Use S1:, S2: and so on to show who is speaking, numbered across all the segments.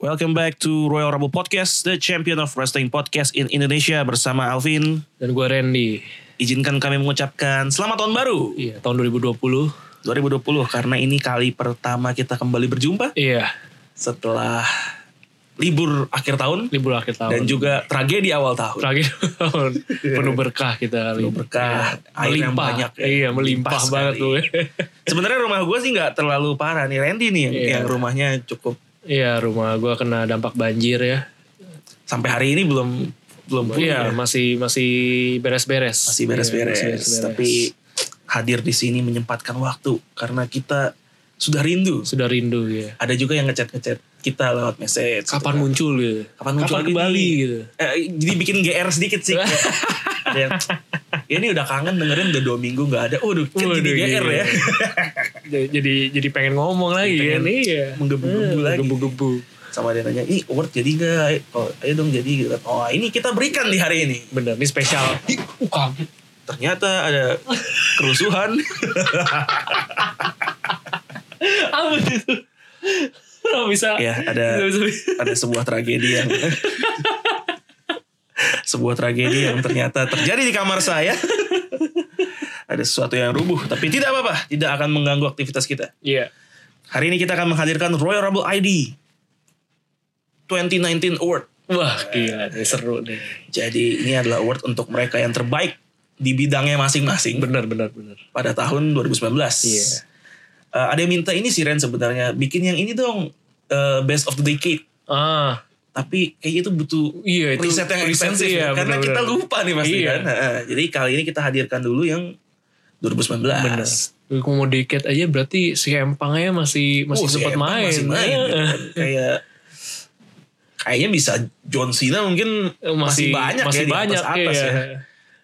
S1: Welcome back to Royal Rumble Podcast, the champion of wrestling podcast in Indonesia bersama Alvin.
S2: Dan gue Randy.
S1: Izinkan kami mengucapkan selamat tahun baru
S2: Iya, tahun 2020.
S1: 2020 karena ini kali pertama kita kembali berjumpa
S2: Iya,
S1: setelah libur akhir tahun
S2: libur akhir tahun.
S1: dan juga tragedi awal tahun.
S2: terakhir tahun penuh berkah kita kali.
S1: Penuh berkah,
S2: Iya,
S1: air yang
S2: melimpah.
S1: banyak ya.
S2: Iya, melimpah
S1: Melimpah
S2: banget
S1: sekali.
S2: tuh.
S1: Sebenarnya rumah gue sih nggak terlalu parah nih Randy nih yang,
S2: Iya.
S1: yang rumahnya cukup
S2: iya, rumah gue kena dampak banjir ya.
S1: sampai hari ini belum belum pulih
S2: Iya,
S1: ya.
S2: masih masih
S1: masih
S2: beres-beres. Iya, masih
S1: beres-beres
S2: beres-beres.
S1: tapi hadir di sini menyempatkan waktu karena kita sudah rindu
S2: sudah rindu ya.
S1: ada juga yang ngechat ngechat kita lewat message gitu
S2: Kapan
S1: kan.
S2: muncul gitu?
S1: kapan muncul
S2: Kapan
S1: lagi
S2: kembali
S1: nih?
S2: gitu?
S1: Eh, jadi bikin GR sedikit sih Kayak, ada yang, ya ini udah kangen dengerin udah dua minggu nggak ada waduh kan jadi
S2: Waduh,
S1: GR ya
S2: iya. jadi jadi pengen ngomong lagi
S1: Jadi
S2: kan?
S1: pengen
S2: Iya.
S1: menggebu-gebu
S2: Eh,
S1: lagi.
S2: Menggebu-gebu.
S1: sama dia nanya ini award jadi nggak oh, ayo dong jadi gitu. oh ini kita berikan di hari ini
S2: Bener, ini spesial. Ih, uh, kaget.
S1: ternyata ada kerusuhan
S2: Apa itu? Kenapa bisa?
S1: ya ada ada sebuah tragedi yang sebuah tragedi yang ternyata terjadi di kamar saya. ada sesuatu yang rubuh, tapi tidak apa-apa, tidak akan mengganggu aktivitas kita.
S2: Iya.
S1: Hari ini kita akan menghadirkan Royal Rumble ID 2019 Award.
S2: Wah, gila nih seru nih.
S1: Jadi ini adalah award untuk mereka yang terbaik di bidangnya masing-masing
S2: Benar, benar, benar.
S1: pada tahun 2019.
S2: Iya.
S1: Eh, ada yang minta ini sih Ren sebenarnya bikin yang ini dong eh, best of the decade.
S2: Ah,
S1: Tapi kayaknya itu butuh
S2: iya itu
S1: riset yang ekstensif
S2: iya,
S1: ya, karena kita
S2: benar-benar.
S1: lupa nih pasti
S2: Iya.
S1: kan. Heeh, jadi kali ini kita hadirkan dulu yang 2019.
S2: Benar. Kalau mau deket aja berarti si empangnya masih masih
S1: Oh, si
S2: sempat
S1: Evan
S2: main.
S1: Masih main. gitu
S2: Eh,
S1: kan. Kayak kayaknya bisa John Cena mungkin
S2: eh,
S1: masih, banyak
S2: masih
S1: ya di
S2: banyak
S1: atas-atas
S2: iya.
S1: ya.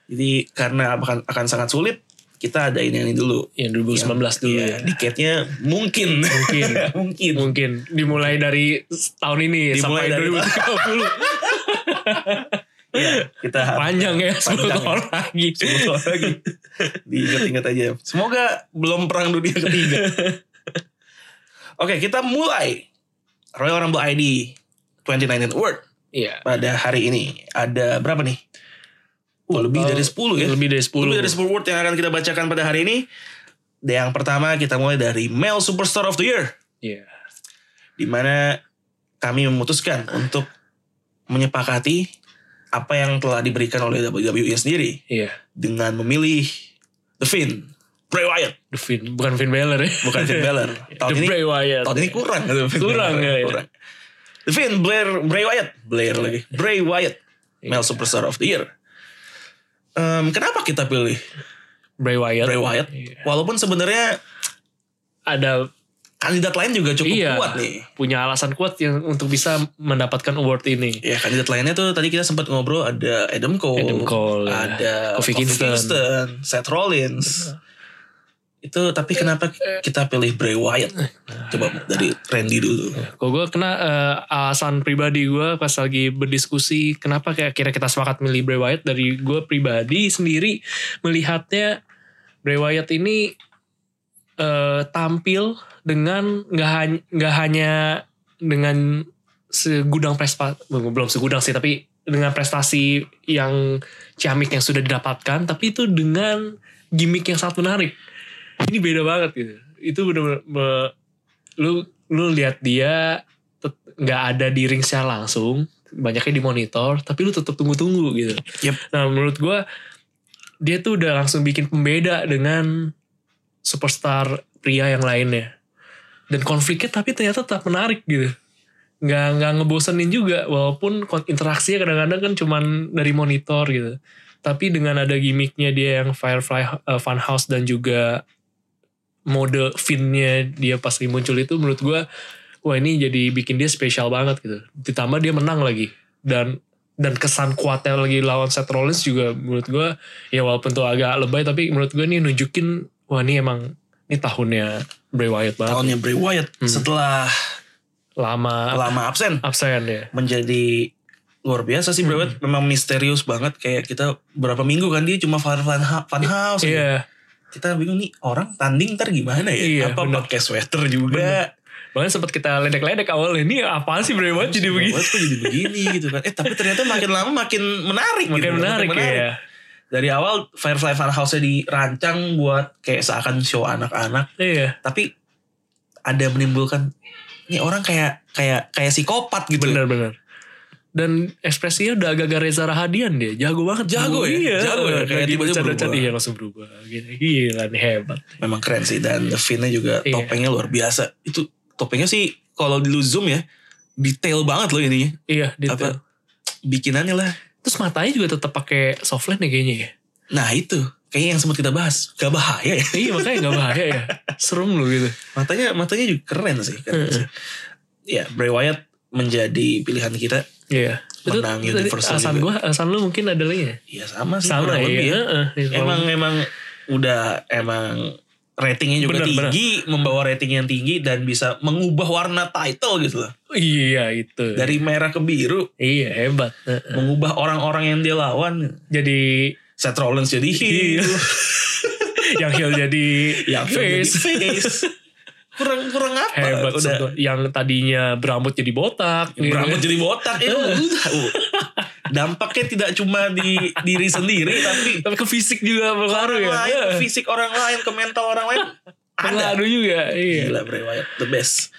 S1: Jadi karena akan akan sangat sulit kita adain yang ini dulu.
S2: Ya 2019 dulu
S1: Iya,
S2: ya.
S1: Diketnya mungkin.
S2: Mungkin.
S1: mungkin.
S2: Mungkin dimulai dari tahun ini
S1: Dimulai dari-
S2: sampai 2030.
S1: Iya, kita
S2: Panjang ya 10
S1: Panjang ya.
S2: tahun lagi.
S1: Semoga lagi. Diingat-ingat aja. Semoga belum perang dunia ketiga. Oke, kita mulai. Royal Rumble ID 2019 World
S2: Iya.
S1: pada hari ini. Ada berapa nih? Oh, lebih dari 10 ya.
S2: Lebih dari 10.
S1: Lebih dari 10 word yang akan kita bacakan pada hari ini. Dan Yang pertama kita mulai dari Male Superstar of the Year.
S2: Iya.
S1: di mana kami memutuskan untuk menyepakati apa yang telah diberikan oleh WWE sendiri
S2: Iya.
S1: dengan memilih The Finn, Bray Wyatt,
S2: The Finn, bukan Finn Balor ya.
S1: bukan Finn Balor. Tahun
S2: The
S1: ini
S2: Bray Wyatt.
S1: tahun ini kurang gitu, Finn
S2: Kurang,
S1: Balor,
S2: ya, ya.
S1: kurang. The Finn, Blair, Bray Wyatt, Blair lagi,
S2: Iya.
S1: Bray Wyatt, Male Superstar of the Year. Em, kenapa kita pilih
S2: Bray Wyatt.
S1: Bray Wyatt?
S2: Iya.
S1: Walaupun sebenarnya
S2: Ada
S1: kandidat lain juga cukup
S2: Iya.
S1: kuat nih.
S2: punya alasan kuat yang untuk bisa mendapatkan award ini.
S1: Ya kandidat lainnya tuh tadi kita sempat ngobrol ada Adam Cole,
S2: Adam Cole, ya.
S1: ada
S2: Kofi
S1: Kofi Kingston.
S2: Kingston.
S1: Seth Rollins. Itu tapi kenapa kita pilih Bray Wyatt? Coba dari Randy dulu.
S2: Kalau gue kena eh, alasan pribadi gue pas lagi berdiskusi kenapa kayak akhirnya kita sepakat milih Bray Wyatt dari gue pribadi sendiri melihatnya Bray Wyatt ini eh, tampil dengan nggak hanya nggak hanya dengan segudang prestasi belum segudang sih tapi dengan prestasi yang ciamik yang sudah didapatkan tapi itu dengan gimmick yang sangat menarik ini beda banget gitu itu bener-bener me- lu lu lihat dia tet- nggak ada di ring secara langsung banyaknya di monitor tapi lu tetap tunggu-tunggu gitu
S1: Yep.
S2: nah menurut gua dia tuh udah langsung bikin pembeda dengan superstar pria yang lainnya dan konfliknya tapi ternyata tetap menarik gitu nggak nggak ngebosenin juga walaupun kon- interaksinya kadang-kadang kan cuman dari monitor gitu tapi dengan ada gimmicknya dia yang Firefly eh, Funhouse dan juga mode finnya dia pas lagi muncul itu menurut gua wah ini jadi bikin dia spesial banget gitu ditambah dia menang lagi dan dan kesan kuatnya lagi lawan Seth Rollins juga menurut gua ya walaupun tuh agak lebay tapi menurut gua ini nunjukin wah ini emang ini tahunnya Bray Wyatt banget
S1: Tahunnya Bray Wyatt
S2: Hmm.
S1: setelah
S2: lama
S1: lama absen
S2: absen ya
S1: menjadi luar biasa sih
S2: Hmm.
S1: Bray Wyatt. Memang misterius banget kayak kita berapa minggu kan dia cuma fun, fun, fun house. gitu.
S2: iya
S1: Kita bingung nih orang tanding ntar gimana ya?
S2: Iya,
S1: Apa
S2: bener.
S1: pakai sweater juga?
S2: Bahkan sempat kita ledek-ledek awalnya. Ini apaan sih Bray Wyatt jadi
S1: Terus
S2: begini?
S1: Wyatt kok jadi begini gitu kan. Eh tapi ternyata makin lama makin menarik gitu.
S2: Makin menarik ya.
S1: Dari awal Firefly Funhouse-nya dirancang buat kayak seakan show anak-anak.
S2: Iya.
S1: Tapi ada menimbulkan ini orang kayak kayak kayak psikopat gitu.
S2: Bener-bener. Dan ekspresinya udah agak-agak Reza Rahadian dia. Jago banget.
S1: Jago ya?
S2: Iya.
S1: Jago ya? Kayak
S2: Kayak
S1: tiba-tiba
S2: bercanda-canda.
S1: berubah.
S2: Iya langsung berubah. Gila, gila nih hebat.
S1: Memang keren sih dan The Fin-nya juga
S2: Iya.
S1: topengnya luar biasa. Itu topengnya sih kalau di lu zoom ya detail banget loh ininya.
S2: Iya. Detail.
S1: Apa bikinannya lah.
S2: Terus matanya juga tetap pakai soft lens ya kayaknya ya.
S1: Nah itu kayaknya yang sempat kita bahas gak bahaya ya.
S2: iya makanya gak bahaya ya. Serem lu gitu.
S1: Matanya matanya juga keren sih. Keren sih. Ya Bray Wyatt menjadi pilihan kita.
S2: Iya.
S1: Menang
S2: tadi
S1: Universal
S2: Alasan
S1: juga.
S2: gue, alasan lu mungkin ada lagi ya?
S1: Ya sama sih.
S2: Sama
S1: kurang
S2: ya.
S1: lebih
S2: Heeh, iya, kurang
S1: Emang emang udah emang ratingnya juga
S2: Bener, bener.
S1: tinggi, membawa rating yang tinggi dan bisa mengubah warna title gitu loh.
S2: Iya itu.
S1: Dari merah ke biru,
S2: Iya hebat. Heeh.
S1: mengubah orang-orang yang dia lawan.
S2: Jadi
S1: Seth Rollins jadi
S2: Iya.
S1: heel,
S2: yang heel jadi
S1: yang face.
S2: face.
S1: jadi face. kurang kurang apa?
S2: Hebat
S1: udah
S2: sebetulnya. Yang tadinya berambut jadi botak. gitu.
S1: berambut jadi botak
S2: Iya.
S1: ya udah. Dampaknya tidak cuma di diri sendiri tapi
S2: Tapi ke fisik juga berpengaruh
S1: orang
S2: ya.
S1: lain, ke fisik orang lain, ke mental orang lain iya. ada.
S2: Pengaruh juga. Iya.
S1: Gila Bray Wyatt the best.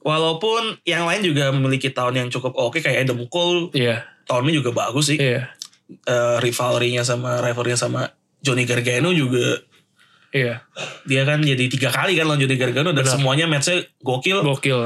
S1: Walaupun yang lain juga memiliki tahun yang cukup oke kayak Adam Cole
S2: Iya.
S1: tahunnya juga bagus sih.
S2: Iya.
S1: Eh, rivalry-nya sama rivalry-nya sama Johnny Gargano juga
S2: Iya.
S1: dia kan jadi tiga kali kan lawan Johnny Gargano dan
S2: Benar.
S1: semuanya match-nya gokil.
S2: Gokil.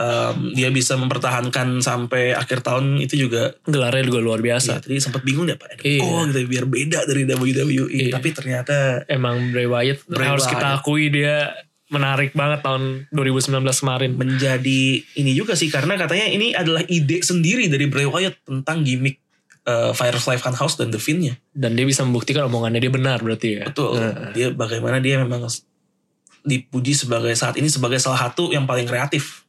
S1: Em, dia bisa mempertahankan sampai akhir tahun itu juga
S2: Gelarnya juga luar
S1: ya,
S2: biasa.
S1: tadi sempat bingung deh Pak Adam
S2: Iya.
S1: Cole gitu biar beda dari WWE
S2: Iya.
S1: tapi ternyata
S2: Emang Bray Wyatt
S1: Bray
S2: harus
S1: Wyatt.
S2: kita akui dia menarik banget tahun 2019 kemarin.
S1: menjadi ini juga sih karena katanya ini adalah ide sendiri dari Bray Wyatt tentang gimmick eh, Firefly Funhouse dan The Fiend-nya.
S2: Dan dia bisa membuktikan omongannya dia benar berarti ya.
S1: Betul.
S2: Nah.
S1: Dia bagaimana dia memang dipuji sebagai saat ini sebagai salah satu yang paling kreatif.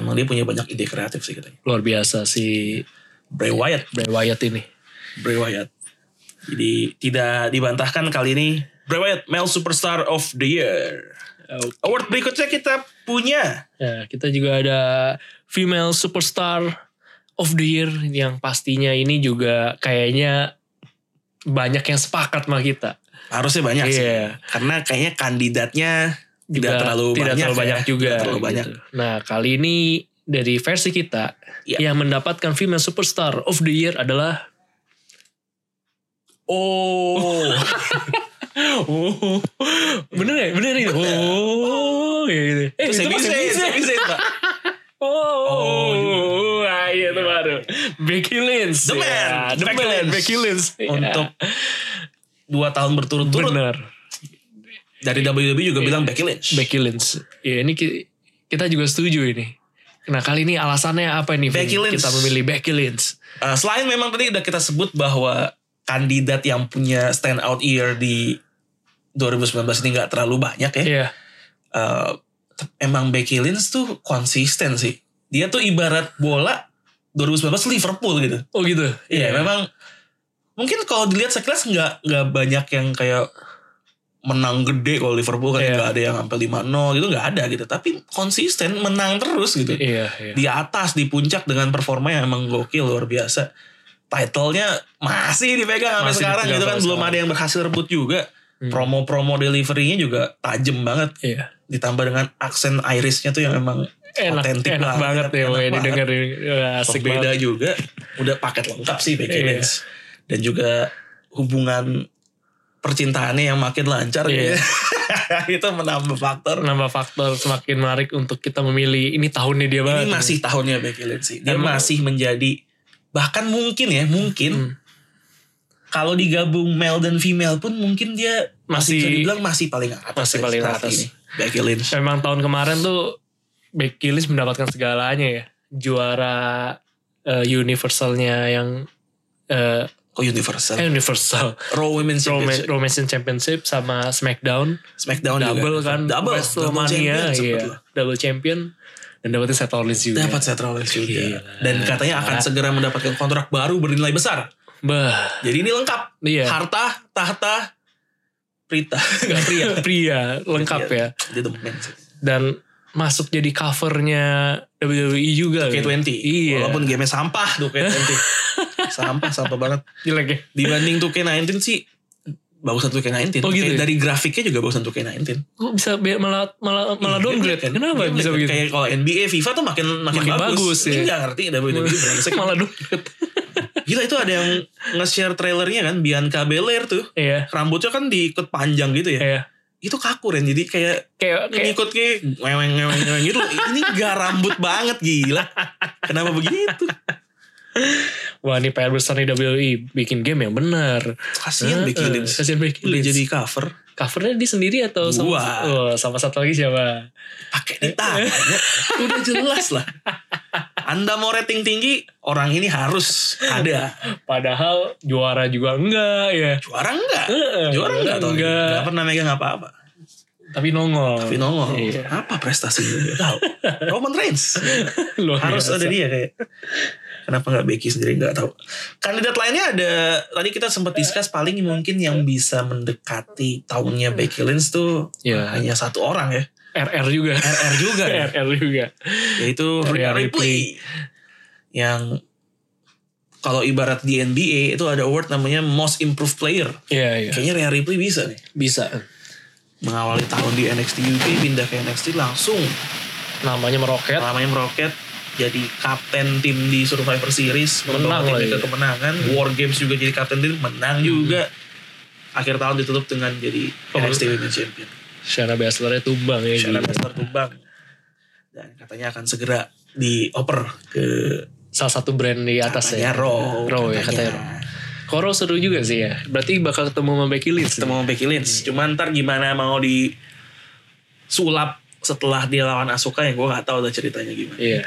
S1: Memang dia punya banyak ide kreatif sih katanya.
S2: Luar biasa si
S1: Bray Wyatt,
S2: Bray Wyatt ini.
S1: Bray Wyatt. Jadi tidak dibantahkan kali ini Bray Wyatt Male Superstar of the Year. Award berikutnya kita punya
S2: Ya, kita juga ada female superstar of the year yang pastinya ini juga kayaknya banyak yang sepakat sama kita.
S1: harusnya banyak sih.
S2: Iya.
S1: Karena kayaknya kandidatnya tidak
S2: Juga
S1: terlalu
S2: tidak
S1: banyak
S2: terlalu
S1: ya.
S2: banyak juga.
S1: Tidak terlalu
S2: gitu.
S1: banyak.
S2: Nah, kali ini dari versi kita
S1: Iya.
S2: yang mendapatkan female superstar of the year adalah
S1: Oh.
S2: Oh, bener ya, bener ya. Oh, kayak gitu. Eh,
S1: Itu
S2: itu
S1: bisa,
S2: masih
S1: bisa,
S2: bisa.
S1: bisa, Pak.
S2: Oh, ah, iya itu baru. Becky Lynch.
S1: Iya, The man, Iya.
S2: Ya, the
S1: Becky
S2: man,
S1: Lynch.
S2: Becky Lynch. Ya.
S1: Untuk dua tahun berturut-turut
S2: Bener.
S1: dari WWE juga bilang Becky Lynch.
S2: Becky Lynch. Ya ini ki- kita juga setuju ini. Nah kali ini alasannya apa nih? Vin?
S1: Becky Lynch.
S2: Kita memilih Becky Lynch.
S1: Eh, selain memang tadi udah kita sebut bahwa kandidat yang punya stand out year di 2019 ini nggak terlalu banyak ya.
S2: Iya.
S1: Eh, te- emang Becky Lynch tuh konsisten sih. Dia tuh ibarat bola 2019 Liverpool gitu.
S2: Oh gitu.
S1: Iya, memang mungkin kalau dilihat sekilas nggak nggak banyak yang kayak menang gede kalau Liverpool kan
S2: Iya.
S1: nggak ada yang sampai 5-0 gitu nggak ada gitu. Tapi konsisten menang terus gitu.
S2: Iya. iya.
S1: Di atas di puncak dengan performa yang emang gokil luar biasa. Titlenya masih dipegang sampai
S2: Masih
S1: sekarang
S2: dipegang
S1: gitu kan
S2: sampai
S1: belum
S2: sekarang.
S1: ada yang berhasil rebut juga.
S2: Hmm.
S1: Promo-promo deliverynya juga tajem banget
S2: Iya.
S1: ditambah dengan aksen Irisnya tuh yang emang
S2: Enak,
S1: Otentik
S2: enak
S1: banget,
S2: banget
S1: enak
S2: ya pokoknya
S1: banget. gitu.
S2: didengerin. Wah, Asik
S1: Pembeda
S2: banget.
S1: juga udah paket lengkap sih Becky
S2: Iya.
S1: Lynch dan juga hubungan percintaannya yang makin lancar gitu.
S2: Iya.
S1: itu menambah faktor
S2: Nambah faktor semakin menarik untuk kita memilih ini tahunnya dia banget. iya.
S1: ini masih tahunnya Becky Lynch sih dia
S2: Emang-
S1: masih menjadi bahkan mungkin ya mungkin
S2: Hmm.
S1: kalau digabung male dan female pun mungkin dia masih bisa
S2: Masih-
S1: dibilang masih paling atas
S2: masih
S1: ya
S2: paling
S1: saat
S2: atas.
S1: ini, Becky Lynch
S2: Memang tahun kemarin tuh Becky Lynch mendapatkan segalanya ya. Juara eh, universalnya yang eh,
S1: kok Universal
S2: eh, universal
S1: Raw Women's
S2: Roman,
S1: Championship
S2: Roman Championship sama SmackDown
S1: Smackdown
S2: double
S1: juga.
S2: kan
S1: Oh, iya. double
S2: WrestleMania
S1: champion sempet
S2: iya.
S1: loh.
S2: double champion dan dapetin Seth Rollins juga. ya.
S1: Dapat Seth Rollins juga.
S2: Gila.
S1: Dan katanya akan
S2: Nah.
S1: segera mendapatkan kontrak baru bernilai besar.
S2: Bah,
S1: Jadi ini lengkap.
S2: iya.
S1: Harta, tahta, Prita. Gak pria. Iya.
S2: Pria lengkap ya.
S1: Dia the man sih.
S2: Dan masuk jadi covernya WWE juga. gitu.
S1: K20.
S2: Iya.
S1: Walaupun gamenya sampah tuh K20. sampah, sampah banget.
S2: Jelek ya.
S1: Dibanding tuh K19 sih bagusan tuh K19.
S2: Oh, gitu ya?
S1: Dari grafiknya juga bagusan tuh K19.
S2: Kok bisa be- malah malah malah
S1: Iya,
S2: downgrade
S1: kan?
S2: Kenapa
S1: Iya,
S2: bisa
S1: kan?
S2: begitu?
S1: Kayak kalau NBA, FIFA tuh makin makin,
S2: Makin bagus,
S1: bagus.
S2: ya.
S1: Ini nggak ngerti WWE brengsek.
S2: malah downgrade.
S1: Gila itu ada yang nge-share trailernya kan Bianca Belair tuh.
S2: Iya.
S1: Rambutnya kan diikat panjang gitu ya.
S2: Iya.
S1: Itu kaku Ren. Jadi kayak
S2: Kayak kayak
S1: ngikut ke ngeweng ngeweng ngeweng gitu. Ini gak rambut banget gila. Kenapa begitu?
S2: wah ini PR besar nih WWE bikin game yang benar.
S1: Kasian Becky
S2: Heeh,
S1: Lynch.
S2: Kasihan Becky
S1: Udah
S2: Lynch.
S1: jadi cover.
S2: covernya dia sendiri atau sama
S1: Gua.
S2: oh, sama satu lagi siapa?
S1: pakai di tangannya udah jelas lah anda mau rating tinggi orang ini harus ada
S2: Padahal juara juga enggak ya.
S1: juara enggak
S2: Heeh,
S1: juara enggak tahun ini
S2: Eh, enggak.
S1: enggak pernah megang apa-apa
S2: Tapi nongol.
S1: tapi nongol
S2: Iya.
S1: apa prestasinya Nggak tahu Roman Reigns
S2: Luar
S1: harus
S2: biasa.
S1: ada dia kayak kenapa nggak Becky sendiri nggak tahu kandidat lainnya ada tadi kita sempat discuss paling mungkin yang bisa mendekati tahunnya Becky Lynch tuh
S2: Ya.
S1: hanya satu orang ya
S2: RR juga.
S1: RR juga ya
S2: RR juga.
S1: yaitu Rhea
S2: Rhea
S1: Ripley yang kalau ibarat di NBA itu ada award namanya Most Improved Player.
S2: Iya, iya.
S1: Kayaknya Rhea Ripley bisa nih.
S2: Bisa.
S1: Mengawali tahun di NXT UK pindah ke NXT langsung
S2: Namanya meroket.
S1: namanya meroket jadi kapten tim di Survivor Series
S2: Menang ya. Hmm.
S1: membawa timnya
S2: lagi.
S1: ke kemenangan War Games juga jadi kapten tim
S2: Hmm.
S1: menang juga akhir tahun ditutup dengan jadi
S2: Pembe-
S1: NXT Women's Champion
S2: Shayna Baszler tumbang ya.
S1: Shayna
S2: gila.
S1: Baszler tumbang dan katanya akan segera dioper ke
S2: Salah satu brand di atas
S1: katanya
S2: ya.
S1: Raw
S2: Raw ya, katanya Koro seru juga sih ya. Berarti bakal ketemu sama Becky Lynch.
S1: ketemu sama Becky Lynch.
S2: Iya.
S1: Cuman ntar gimana mau di sulap setelah dia lawan Asuka yang gue nggak tahu udah ceritanya gimana.
S2: Iya.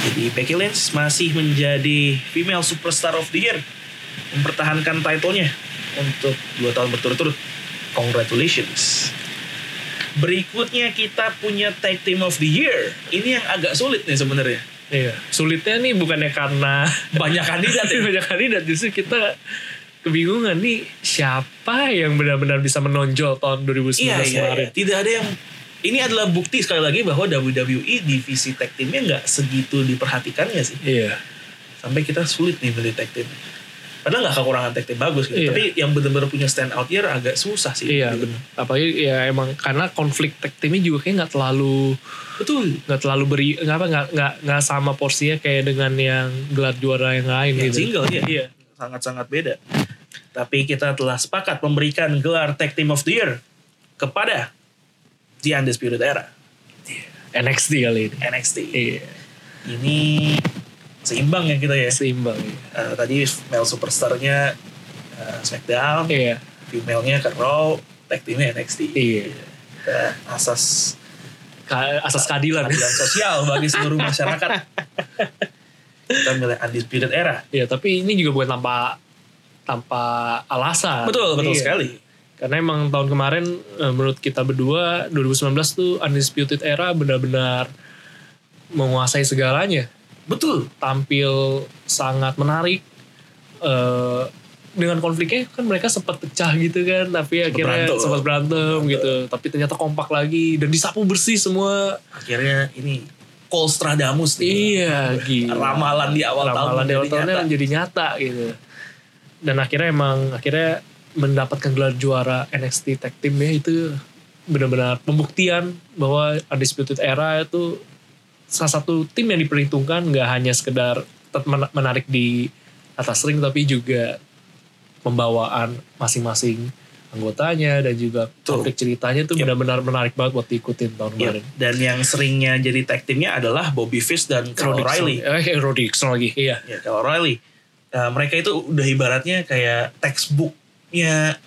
S1: Jadi Becky Lynch masih menjadi female superstar of the year, mempertahankan titlenya untuk dua tahun berturut-turut. Congratulations. Berikutnya kita punya tag team of the year. Ini yang agak sulit nih sebenarnya.
S2: Iya. Sulitnya nih bukannya karena
S1: Banyak kandidat ya.
S2: banyak kandidat justru kita kebingungan nih siapa yang benar-benar bisa menonjol tahun 2019
S1: Iya, iya, iya.
S2: kemarin.
S1: Tidak ada yang ini adalah bukti sekali lagi bahwa WWE divisi tag teamnya nggak segitu diperhatikannya sih.
S2: Iya.
S1: Sampai kita sulit nih beli tag team. Padahal nggak kekurangan tag team bagus gitu.
S2: Iya.
S1: Tapi yang benar-benar punya stand out year agak susah sih.
S2: Iya,
S1: Gitu.
S2: benar. Apalagi ya emang karena konflik tag teamnya juga kayak nggak terlalu
S1: Betul.
S2: nggak terlalu beri nggak apa nggak nggak nggak sama porsinya kayak dengan yang gelar juara yang lain
S1: Yang
S2: gitu.
S1: single ya.
S2: Iya.
S1: Sangat-sangat beda. Tapi kita telah sepakat memberikan gelar tag team of the year kepada The Undisputed Era
S2: NXT kali ini.
S1: NXT.
S2: Iya.
S1: Ini seimbang ya kita ya.
S2: Seimbang. Iya.
S1: Eh, tadi male superstarnya eh, SmackDown,
S2: Iya.
S1: female-nya ke Raw, tag team-nya NXT.
S2: iya.
S1: Kita Eh, asas
S2: Ka- Asas keadilan.
S1: keadilan sosial bagi seluruh masyarakat. Kita milih undisputed era.
S2: Iya, tapi ini juga bukan tanpa tanpa alasan.
S1: Betul, betul
S2: Iya.
S1: sekali.
S2: Karena emang tahun kemarin eh, menurut kita berdua 2019 tuh undisputed era benar-benar menguasai segalanya.
S1: Betul.
S2: Tampil sangat menarik. Eh, dengan konfliknya kan mereka sempat pecah gitu kan, tapi akhirnya
S1: berantem.
S2: sempat berantem gitu. Tapi ternyata kompak lagi dan disapu bersih semua.
S1: Akhirnya ini Cole Stradamus nih.
S2: Iya, gitu.
S1: Ramalan di awal tahun. Iya.
S2: ramalan Dewa
S1: menjadi
S2: Tahunnya
S1: nyata.
S2: menjadi nyata gitu. Dan akhirnya emang akhirnya mendapatkan gelar juara NXT Tag Team ya itu benar-benar pembuktian bahwa Undisputed Era itu salah satu tim yang diperhitungkan nggak hanya sekedar tet- men- menarik di atas ring tapi juga pembawaan masing-masing anggotanya dan juga
S1: Betul.
S2: konflik ceritanya itu
S1: Yep.
S2: benar-benar menarik banget buat diikutin tahun
S1: Iya.
S2: kemarin.
S1: Dan yang seringnya jadi tag teamnya adalah Bobby Fish dan Kyle
S2: Roderick
S1: O'Reilly.
S2: Strong- Eh, Roderick Strong lagi. Iya.
S1: ya kalau Riley uh, mereka itu udah ibaratnya kayak textbooknya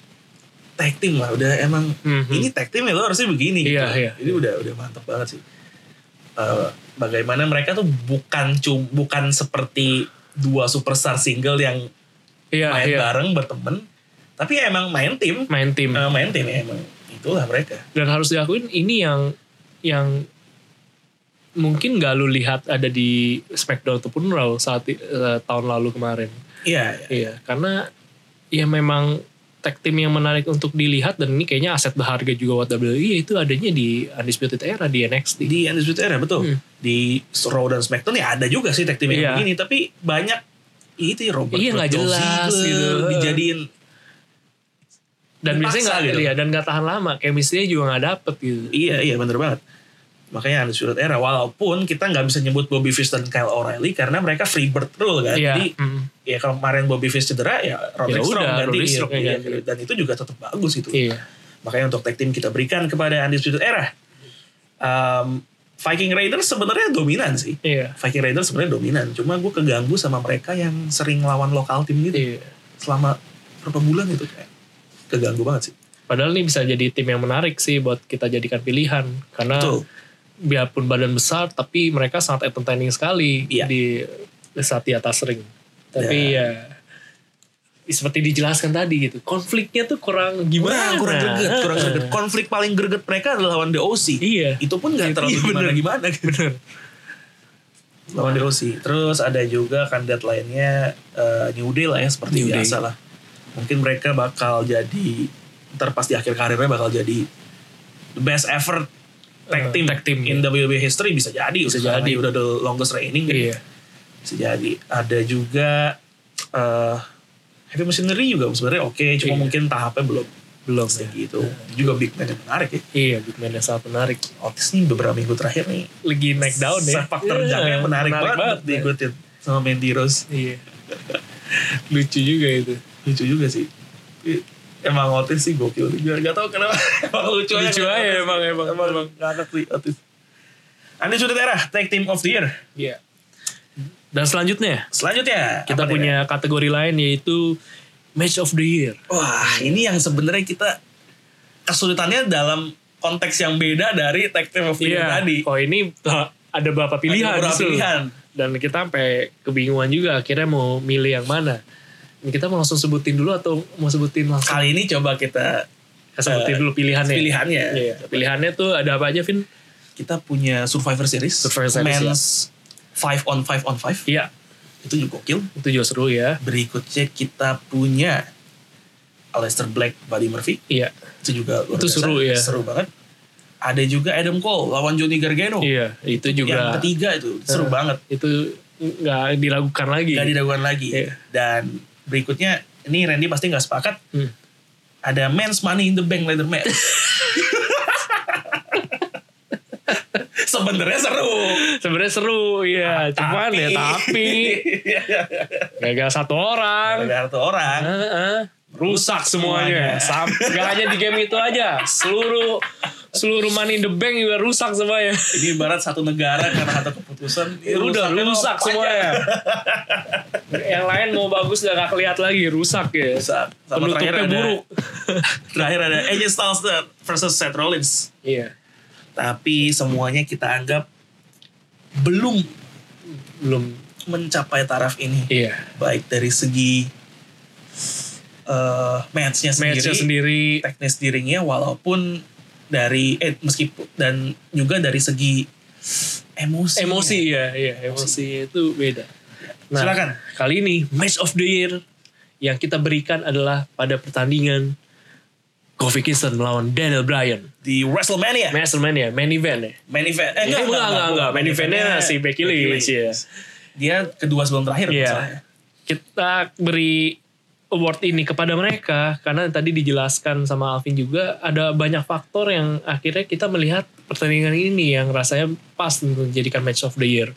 S1: tag team lah udah emang
S2: Mhm.
S1: ini tag team ya lo harusnya begini
S2: Iya,
S1: gitu
S2: iya.
S1: jadi udah udah mantep banget sih Uh, bagaimana mereka tuh bukan cum, bukan seperti dua superstar single yang
S2: Iya,
S1: main
S2: iya. Hmm.
S1: bareng berteman tapi emang main tim
S2: Main tim.
S1: Uh, main tim ya emang itulah mereka
S2: dan harus diakuin ini yang yang mungkin gak lu lihat ada di Smackdown ataupun Raw saat i- eh, tahun lalu kemarin.
S1: iya iya.
S2: Iya, karena ya memang tag team yang menarik untuk dilihat dan ini kayaknya aset berharga juga buat WWE itu adanya di Undisputed Era di NXT.
S1: di Undisputed Era betul
S2: Hmm.
S1: di Raw dan SmackDown ya ada juga sih tag team
S2: Iya.
S1: yang begini tapi banyak itu ya Robert
S2: Iya, nggak
S1: Dolph
S2: jelas
S1: Ziggler
S2: gitu.
S1: dijadiin
S2: dan
S1: Dipaksa
S2: biasanya nggak
S1: gitu.
S2: iya, dan nggak tahan lama chemistry juga nggak dapet gitu
S1: iya iya bener banget makanya Undisputed Era walaupun kita nggak bisa nyebut Bobby Fish dan Kyle O'Reilly karena mereka freebird rule kan
S2: Iya,
S1: jadi
S2: mm.
S1: ya kalau kemarin Bobby Fish cedera ya Roderick
S2: Ya
S1: Strong
S2: udah,
S1: ganti
S2: Roderick Strong yang
S1: Iya,
S2: ganti.
S1: dan itu juga tetap bagus gitu
S2: iya
S1: makanya untuk tag team kita berikan kepada Undisputed Era Em, Viking Raiders sebenarnya dominan sih
S2: iya
S1: Viking Raiders sebenarnya dominan cuma gue keganggu sama mereka yang sering lawan lokal tim gitu
S2: iya
S1: selama berapa bulan itu kayak keganggu banget sih
S2: padahal ini bisa jadi tim yang menarik sih buat kita jadikan pilihan karena
S1: betul
S2: biarpun badan besar tapi mereka sangat entertaining sekali
S1: Iya.
S2: di saat di atas ring tapi ya seperti dijelaskan tadi gitu konfliknya tuh kurang
S1: Wah,
S2: gimana
S1: Nah,
S2: Nah.
S1: kurang greget kurang
S2: Heeh.
S1: greget konflik paling greget mereka adalah lawan DOC
S2: iya
S1: itu pun gak terlalu
S2: Iya,
S1: gimana
S2: bener.
S1: gimana gitu
S2: bener
S1: lawan Rossi. Terus ada juga kandidat lainnya eh, New Day lah ya seperti
S2: New Day.
S1: biasa lah. Mungkin mereka bakal jadi ntar pas di akhir karirnya bakal jadi the best ever tag
S2: Eh,
S1: team,
S2: tag team,
S1: in WWE E history bisa jadi
S2: Bisa
S1: sekarang
S2: jadi.
S1: udah the longest reigning gitu.
S2: iya
S1: bisa jadi ada juga eh Heavy Machinery juga sebenarnya oke cuma
S2: Iya.
S1: mungkin tahapnya belum
S2: belum ya
S1: segitu itu gitu. juga big man yang menarik ya
S2: iya big man yang sangat menarik
S1: Otis nih beberapa minggu terakhir nih
S2: lagi naik daun ya
S1: sepak terjangnya
S2: Iya,
S1: menarik, banget,
S2: banget.
S1: diikutin sama Mandy Rose
S2: Iya. Lucu juga itu.
S1: lucu juga sih I- emang Otis sih gokil juga gak tau kenapa emang lucu,
S2: Lucu aja emang, emang,
S1: emang,
S2: emang.
S1: ngakak sih Otis Andi Sudut Era Tag Team of the Year
S2: Iya. Dan selanjutnya
S1: selanjutnya
S2: kita
S1: apa nih,
S2: punya kategori lain yaitu Match of the Year.
S1: Ra? wah ini yang sebenarnya kita kesulitannya dalam konteks yang beda dari Tag Team of the Year tadi
S2: Oh ini ha, ada beberapa pilihan.
S1: Ada beberapa
S2: justru.
S1: pilihan
S2: Dan kita sampai kebingungan juga akhirnya mau milih yang mana. Ini Kita mau langsung sebutin dulu atau mau sebutin langsung?
S1: kali ini coba kita
S2: Kita sebutin dulu pilihannya.
S1: Eh, pilihannya
S2: Iya. Pilihannya tuh ada apa aja, Vin?
S1: kita punya Survivor Series
S2: Survivor Series,
S1: Men's 5 on 5 on 5
S2: Iya,
S1: itu juga gokil
S2: itu juga seru ya.
S1: Berikutnya kita punya Aleister Black, Buddy Murphy.
S2: Iya,
S1: Itu juga luar
S2: Itu
S1: biasa.
S2: seru, ya.
S1: Seru banget. Ada juga Adam Cole lawan Johnny Gargano.
S2: iya, itu
S1: Oh, Yang
S2: juga
S1: ketiga itu seru
S2: Eh.
S1: banget.
S2: itu nggak diragukan lagi.
S1: Gak diragukan lagi.
S2: Iya.
S1: Dan berikutnya ini Randy pasti nggak sepakat.
S2: Hmm.
S1: Ada Men's Money in the Bank Leather Match. Sebenarnya seru.
S2: Sebenarnya seru ya,
S1: Ah,
S2: cuman ya tapi
S1: Iya,
S2: gagal satu orang.
S1: Ada satu orang.
S2: Heeh. rusak
S1: Semuanya.
S2: semuanya. Sam- Gak hanya di game itu aja, seluruh seluruh money in the bank juga rusak semuanya.
S1: Ini ibarat satu negara karena satu keputusan. ini
S2: Udah
S1: Iya, rusaknya mau
S2: rusak
S1: apa aja.
S2: semuanya. Yang lain mau bagus udah gak keliat lagi, rusak ya.
S1: Rusak. Sama
S2: Penutupnya
S1: terakhir ada-
S2: buruk.
S1: Terakhir ada AJ Styles versus Seth Rollins.
S2: Iya,
S1: Tapi semuanya kita anggap belum
S2: belum.
S1: mencapai taraf ini.
S2: Iya.
S1: Baik dari segi eh match-nya sendiri,
S2: Matchnya sendiri.
S1: teknis dirinya walaupun dari eh meskipun dan juga dari segi emosi.
S2: Emosi ya, iya emosi itu beda. Nah,
S1: Silakan.
S2: Kali ini match of the year yang kita berikan adalah pada pertandingan Kofi Kingston melawan Daniel Bryan.
S1: Di WrestleMania
S2: WrestleMania main event ya.
S1: main event.
S2: Eh, enggak, enggak, enggak, enggak. Main eventnya si Becky Lynch, ya.
S1: Dia kedua sebelum terakhir
S2: Iya.
S1: misalnya.
S2: Kita beri award ini kepada mereka karena tadi dijelaskan sama Alvin juga ada banyak faktor yang akhirnya kita melihat pertandingan ini yang rasanya pas untuk dijadikan match of the year.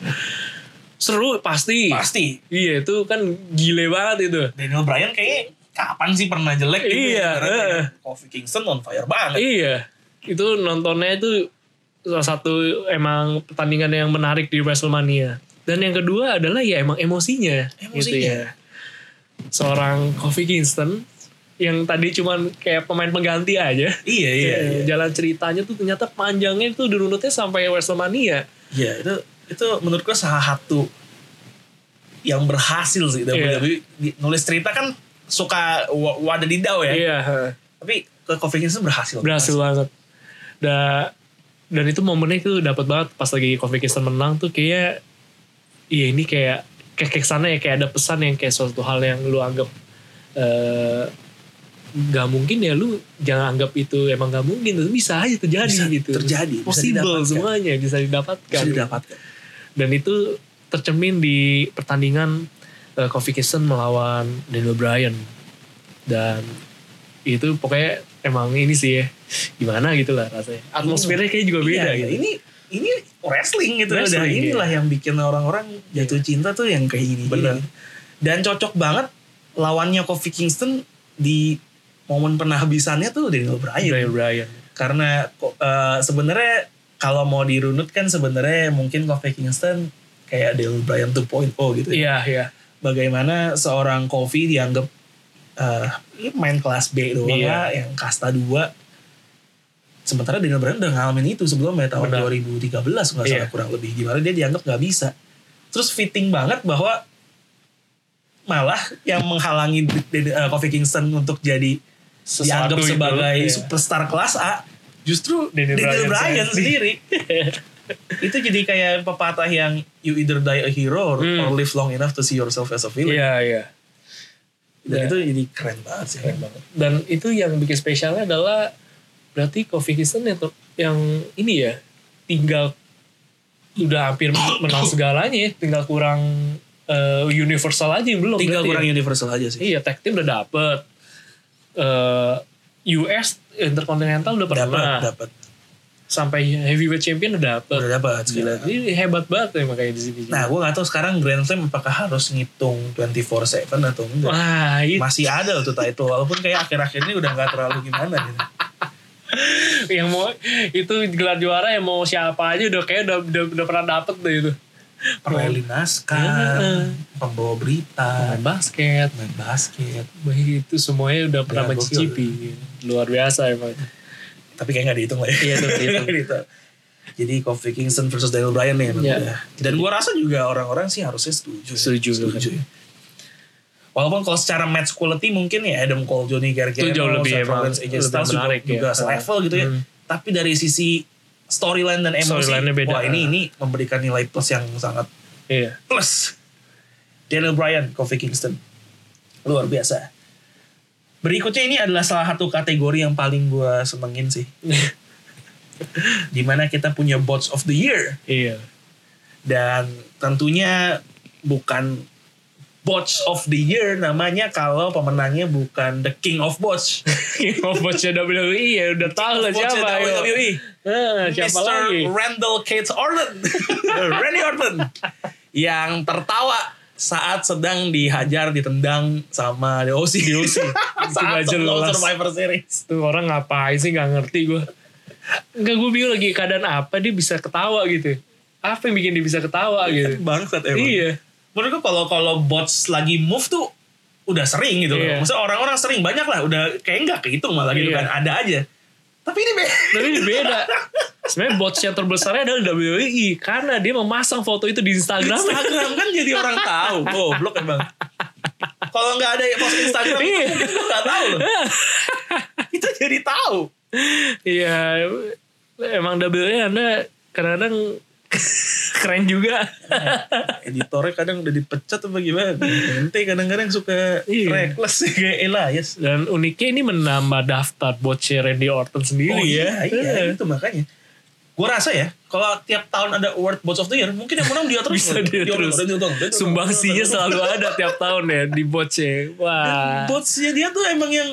S2: Seru pasti.
S1: Pasti
S2: Iya itu kan gile banget itu.
S1: Daniel Bryan kayaknya kapan sih pernah jelek gitu
S2: Iya,
S1: ya, ibaratnya.
S2: heeh.
S1: Kofi Kingston on fire banget.
S2: Iya, itu nontonnya itu salah satu emang pertandingan yang menarik di WrestleMania. Dan yang kedua adalah ya emang emosinya, gitu ya.
S1: Emosinya.
S2: Seorang Kofi Kingston yang tadi cuman kayak pemain pengganti aja.
S1: Iya, iya, iya.
S2: Jalan ceritanya tuh ternyata panjangnya itu dirunutnya sampai WrestleMania.
S1: Iya, itu itu menurut gue salah satu yang berhasil sih
S2: Iya.
S1: WWE E. Di- nulis cerita kan suka wa- wadah didau ya.
S2: Iya, heeh.
S1: Tapi ke Kofi Kingston berhasil.
S2: berhasil banget. Da- dan itu momennya itu dapat banget pas lagi Kofi Kingston menang tuh kayak iya ini kayak kayak kesannya ya kayak ada pesan yang kayak suatu hal yang lu anggap eh nggak mungkin ya lu jangan anggap itu emang nggak mungkin itu bisa aja terjadi
S1: Bisa
S2: gitu
S1: terjadi, bisa
S2: possible
S1: didapatkan.
S2: semuanya bisa didapatkan
S1: bisa didapatkan.
S2: dan itu tercermin di pertandingan eh, Kofi Kingston melawan Daniel Bryan dan itu pokoknya emang ini sih ya gimana gitu lah rasanya atmosfernya kayak juga beda
S1: Iya,
S2: gitu
S1: Ini ini wrestling gitu udah
S2: Wrestling, iya.
S1: inilah yang bikin orang-orang jatuh cinta tuh yang kayak gini.
S2: Bener.
S1: Dan cocok banget lawannya Kofi Kingston di momen penhabisannya tuh Daniel Bryan.
S2: Daniel Bryan
S1: Karena ko- eh, sebenarnya kalau mau dirunut kan sebenarnya mungkin Kofi Kingston kayak Daniel Bryan 2.0 gitu. ya.
S2: iya iya
S1: Bagaimana seorang Kofi dianggap eh, ini main kelas B doang
S2: Iya.
S1: lah, yang kasta 2. Sementara Daniel Bryan udah ngalamin itu sebelumnya tahun
S2: Benar.
S1: 2013 nggak salah
S2: Iya.
S1: kurang lebih. Gimana dia dianggap nggak bisa. Terus fitting banget bahwa malah yang menghalangi D- D- eh, Kofi Kingston untuk jadi
S2: Sesuatu
S1: dianggap
S2: itu,
S1: sebagai
S2: iya.
S1: superstar kelas A justru
S2: Daniel
S1: Daniel,
S2: Bryan
S1: Bryan
S2: sendiri.
S1: sendiri. itu jadi kayak pepatah yang you either die a hero or,
S2: Hmm.
S1: or live long enough to see yourself as a villain.
S2: iya iya
S1: Dan
S2: Iya.
S1: itu jadi keren banget sih.
S2: Keren banget. Dan itu yang bikin spesialnya adalah berarti Kofi Kingston yang, yang ini ya tinggal udah hampir menang segalanya, ya. tinggal kurang eh, universal aja yang belum.
S1: Tinggal
S2: berarti
S1: kurang
S2: ya.
S1: universal aja sih.
S2: Iya, tag team udah dapet. Eh, US Intercontinental udah pernah.
S1: Dapat, dapat.
S2: Sampai heavyweight champion udah dapet.
S1: Udah dapat
S2: Gila,
S1: segala.
S2: ini hebat banget emang kayak di sini.
S1: Nah, gue gak tahu sekarang Grand Slam apakah harus ngitung 24/7 atau enggak.
S2: Wah, itu
S1: Masih ada tuh title walaupun kayak akhir-akhir ini udah gak terlalu gimana gitu.
S2: yang mau itu gelar juara yang mau siapa aja udah kayak udah udah, udah pernah dapet deh itu.
S1: Perwali naskah,
S2: Iya.
S1: pembawa berita,
S2: main basket
S1: main basket.
S2: Wah, itu semuanya udah pernah
S1: Ya, gokil.
S2: mencicipi luar biasa emang
S1: Tapi kayak gak dihitung lah ya.
S2: Iya, itu nggak dihitung.
S1: Gitu. Jadi Kofi Kingston versus Daniel Bryan nih. emang
S2: Iya.
S1: udah. Dan gue rasa juga orang-orang sih harusnya setuju. ya.
S2: Setuju,
S1: Setuju. ya. Walaupun kalau secara match quality mungkin ya Adam Cole, Johnny Gargano,
S2: Itu jauh lebih
S1: Seth
S2: emang
S1: Rollins, AJ
S2: lebih
S1: Styles juga,
S2: menarik ya.
S1: juga selevel gitu ya.
S2: Hmm.
S1: Tapi dari sisi storyline dan emosi,
S2: Storyline-nya beda.
S1: wah ini ini memberikan nilai plus yang sangat
S2: iya
S1: plus. Daniel Bryan, Kofi Kingston. Luar biasa. Berikutnya ini adalah salah satu kategori yang paling gue senengin sih. Dimana kita punya Bots of the Year.
S2: iya
S1: Dan tentunya bukan Bots of the Year namanya kalau pemenangnya bukan The King of Bots.
S2: bocah WWE ya udah tahu lah
S1: Bots
S2: siapa ya Nah,
S1: WWE.
S2: siapa
S1: Mr.
S2: lagi
S1: Randall Kate Orton. Randy Orton. yang tertawa saat sedang dihajar, ditendang sama DOC. DOC.
S2: juga
S1: saat sebelum
S2: jelas.
S1: Survivor Series.
S2: tuh orang ngapain sih nggak ngerti gue nggak gue bingung lagi keadaan apa dia bisa ketawa gitu apa yang bikin dia bisa ketawa gitu
S1: Bangsat emang.
S2: iya
S1: Menurut gue kalau kalau bots lagi move tuh udah sering gitu
S2: Iya.
S1: loh. Maksudnya orang-orang sering banyak lah. Udah kayak nggak kehitung malah gitu
S2: Iya.
S1: kan. Ada aja. Tapi ini be-
S2: tapi ini beda sebenarnya bots yang terbesarnya adalah WWE karena dia memasang foto itu di Instagram
S1: Instagram kan jadi orang tahu. Goblok emang. Kalau nggak ada post Instagram itu
S2: Iya.
S1: mungkin gue nggak tahu loh. Itu jadi tahu.
S2: Iya, emang double-nya Anda kadang-kadang keren juga.
S1: editornya kadang udah dipecat apa gimana nanti kadang-kadang suka
S2: Iya. Oh,
S1: reckless sih kayak Elias
S2: Dan uniknya ini menambah daftar bocce Randy Orton sendiri ya.
S1: iya itu makanya gue rasa ya kalau tiap tahun ada award bots of the year mungkin yang menang dia terus
S2: Bisa dia terus. Sumbangsinya selalu ada tiap tahun ya di bocce. Wah.
S1: botsnya dia tuh emang yang